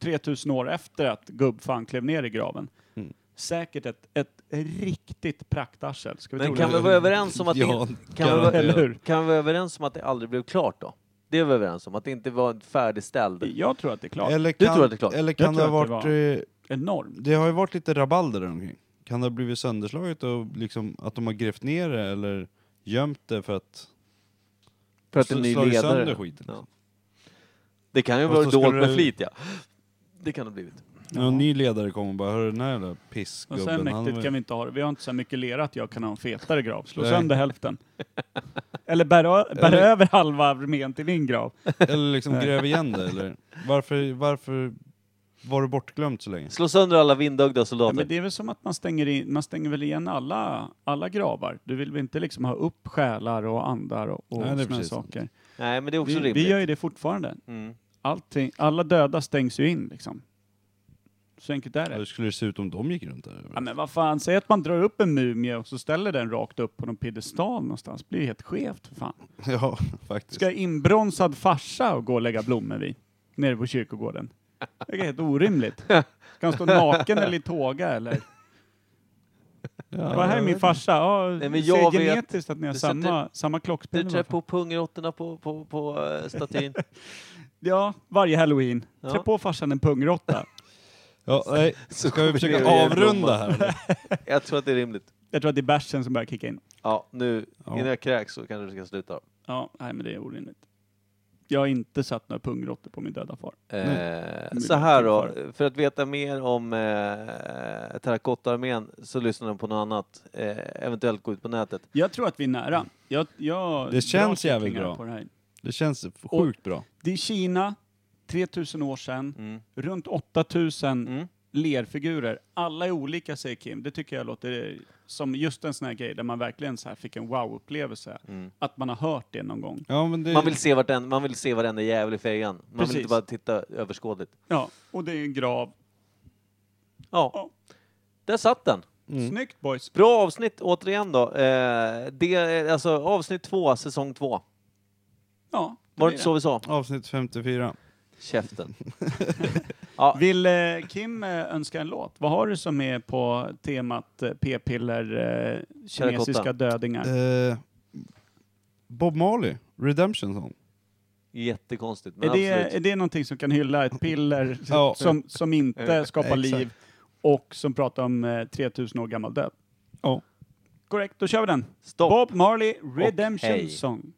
B: 3000 år efter att gubbfan klev ner i graven.
A: Mm.
B: Säkert ett, ett riktigt praktarsel. Ska vi
C: Men
B: tro
C: kan
B: det?
C: vi vara överens om att
A: Ja,
C: det, kan vi,
A: garanterat.
B: Eller
C: vara-
B: hur?
C: kan vi vara överens om att det aldrig blev klart då? Det är vi överens om, att det inte var en färdigställd.
B: Jag tror att det är klart.
A: Eller
C: Du
A: kan,
C: tror att det är klart?
A: Eller kan
B: tror
A: det ha
B: att det
A: varit... eh,
B: Enorm.
A: Det har ju varit lite rabalder där omkring. Kan det ha blivit sönderslaget och liksom att de har grävt ner det eller gömt det för att,
C: För att en
A: sl-
C: ny
A: slagit sönder
C: ledare.
A: skiten? liksom?
C: Ja. Det kan ju
A: Fast
C: vara
A: då skulle
C: dolt med
A: det-
C: flit ja. Det kan det ha blivit.
A: När en ny ledare kommer och bara hörru den här jävla
B: Och så här
A: pissgubben, han
B: mäktigt
A: var-
B: kan vi inte ha det. Vi har inte så här mycket lera att jag kan ha en fetare grav. Slå
A: Nej.
B: sönder hälften. Eller bär, ö- bär
A: Eller-
B: över halva armén till min grav.
A: eller liksom gräv igen det eller varför, varför var du bortglömt så länge?
C: Slå sönder alla vindögda
B: Ja,
C: soldater.
B: men det är väl som att man stänger, in, man stänger väl igen alla, alla gravar. Du vill väl inte liksom ha upp själar och andar och, och
A: Nej, det är
B: sådana
A: precis
B: saker.
C: Nej, men det är också
B: Vi,
C: rimligt.
B: vi gör ju det fortfarande.
C: mm.
B: allting, alla döda stängs ju in liksom. Så enkelt är
A: Ja, hur
B: det.
A: skulle det se ut om de gick runt där?
B: Ja, men vad fan, säg att man drar upp en mumie och så ställer den rakt upp på någon piedestal någonstans. blir det helt skevt för fan.
A: Ja, faktiskt.
B: Ska jag inbronsad farsa och gå och lägga blommor vid? Nere på kyrkogården. Det är helt orimligt. Ska han stå naken eller i tåga eller?
A: Ja,
B: Vad här är
A: jag
B: min
A: vet
B: farsa. Ja,
C: Nej, men
B: det
C: jag
B: ser
C: vet.
B: genetiskt att ni har
C: Du sätter-
B: samma, samma
C: Du
B: klockspelare.
C: trär på pungråttorna på, på, på eh, statyn.
B: Ja, varje halloween.
C: Ja.
B: Trä på farsan en pungråtta.
A: inte.
H: Ja, nej.
C: Så
H: Ska vi försöka
C: kommer det att ge
H: avrunda
C: blomman.
H: här? eller?
C: Jag tror att det är rimligt.
B: Jag tror att det är bärsen som börjar kicka in.
C: Ja, nu
H: Ja.
C: innan jag kräks så kanske vi ska sluta.
B: Ja, nej men det är orimligt. Jag har inte satt några pungråttor på min döda far.
C: Eh,
B: Nej.
C: så här då, för att veta mer om eh, terrakottaarmén så lyssnar de på något annat. Eh, eventuellt gå ut på nätet.
B: Jag tror att vi är nära. Jag, jag
H: Det känns
B: drar
H: jävligt
B: kycklingar
H: bra.
B: På det, här.
H: Det känns sjukt bra.
B: det är Kina, 3000 år sedan,
C: Mm.
B: runt 8000
C: Mm.
B: lerfigurer. Alla är olika säger Kim. Det tycker jag låter eh, som just en sån här grej där man verkligen så här fick en wow-upplevelse.
C: Mm.
B: Att man har hört det någon gång.
H: Ja, men det...
C: Man vill se vartenda, man vill se varenda jävel i fejan. Man
B: Precis.
C: vill inte bara titta överskådligt.
B: Ja, och det är en grav.
C: Ja.
B: Ja.
C: Där satt den.
H: Mm.
B: Snyggt boys!
C: Bra avsnitt återigen då. Eh, det, är alltså avsnitt två, säsong två.
B: Ja, det
C: Var
B: är
C: det inte så vi sa?
H: Avsnitt 54.
C: Käften. ja,
B: Vill eh, Kim eh, önska en låt? Vad har du som är på temat eh, p-piller, eh, kinesiska
C: Terrakotta.
B: dödingar?
H: Eh, Bob Marley, Redemption Song.
C: jättekonstigt men
B: Är det,
C: absolut.
B: är det någonting som kan hylla ett piller
H: Ja.
B: som, som inte
C: Eh,
B: skapar
H: exakt.
B: liv och som pratar om eh, 3000 år gammal död?
H: Ja.
B: Korrekt, då kör vi den.
C: Stopp.
B: Bob Marley
C: Och
B: Redemption
C: hej.
B: Song.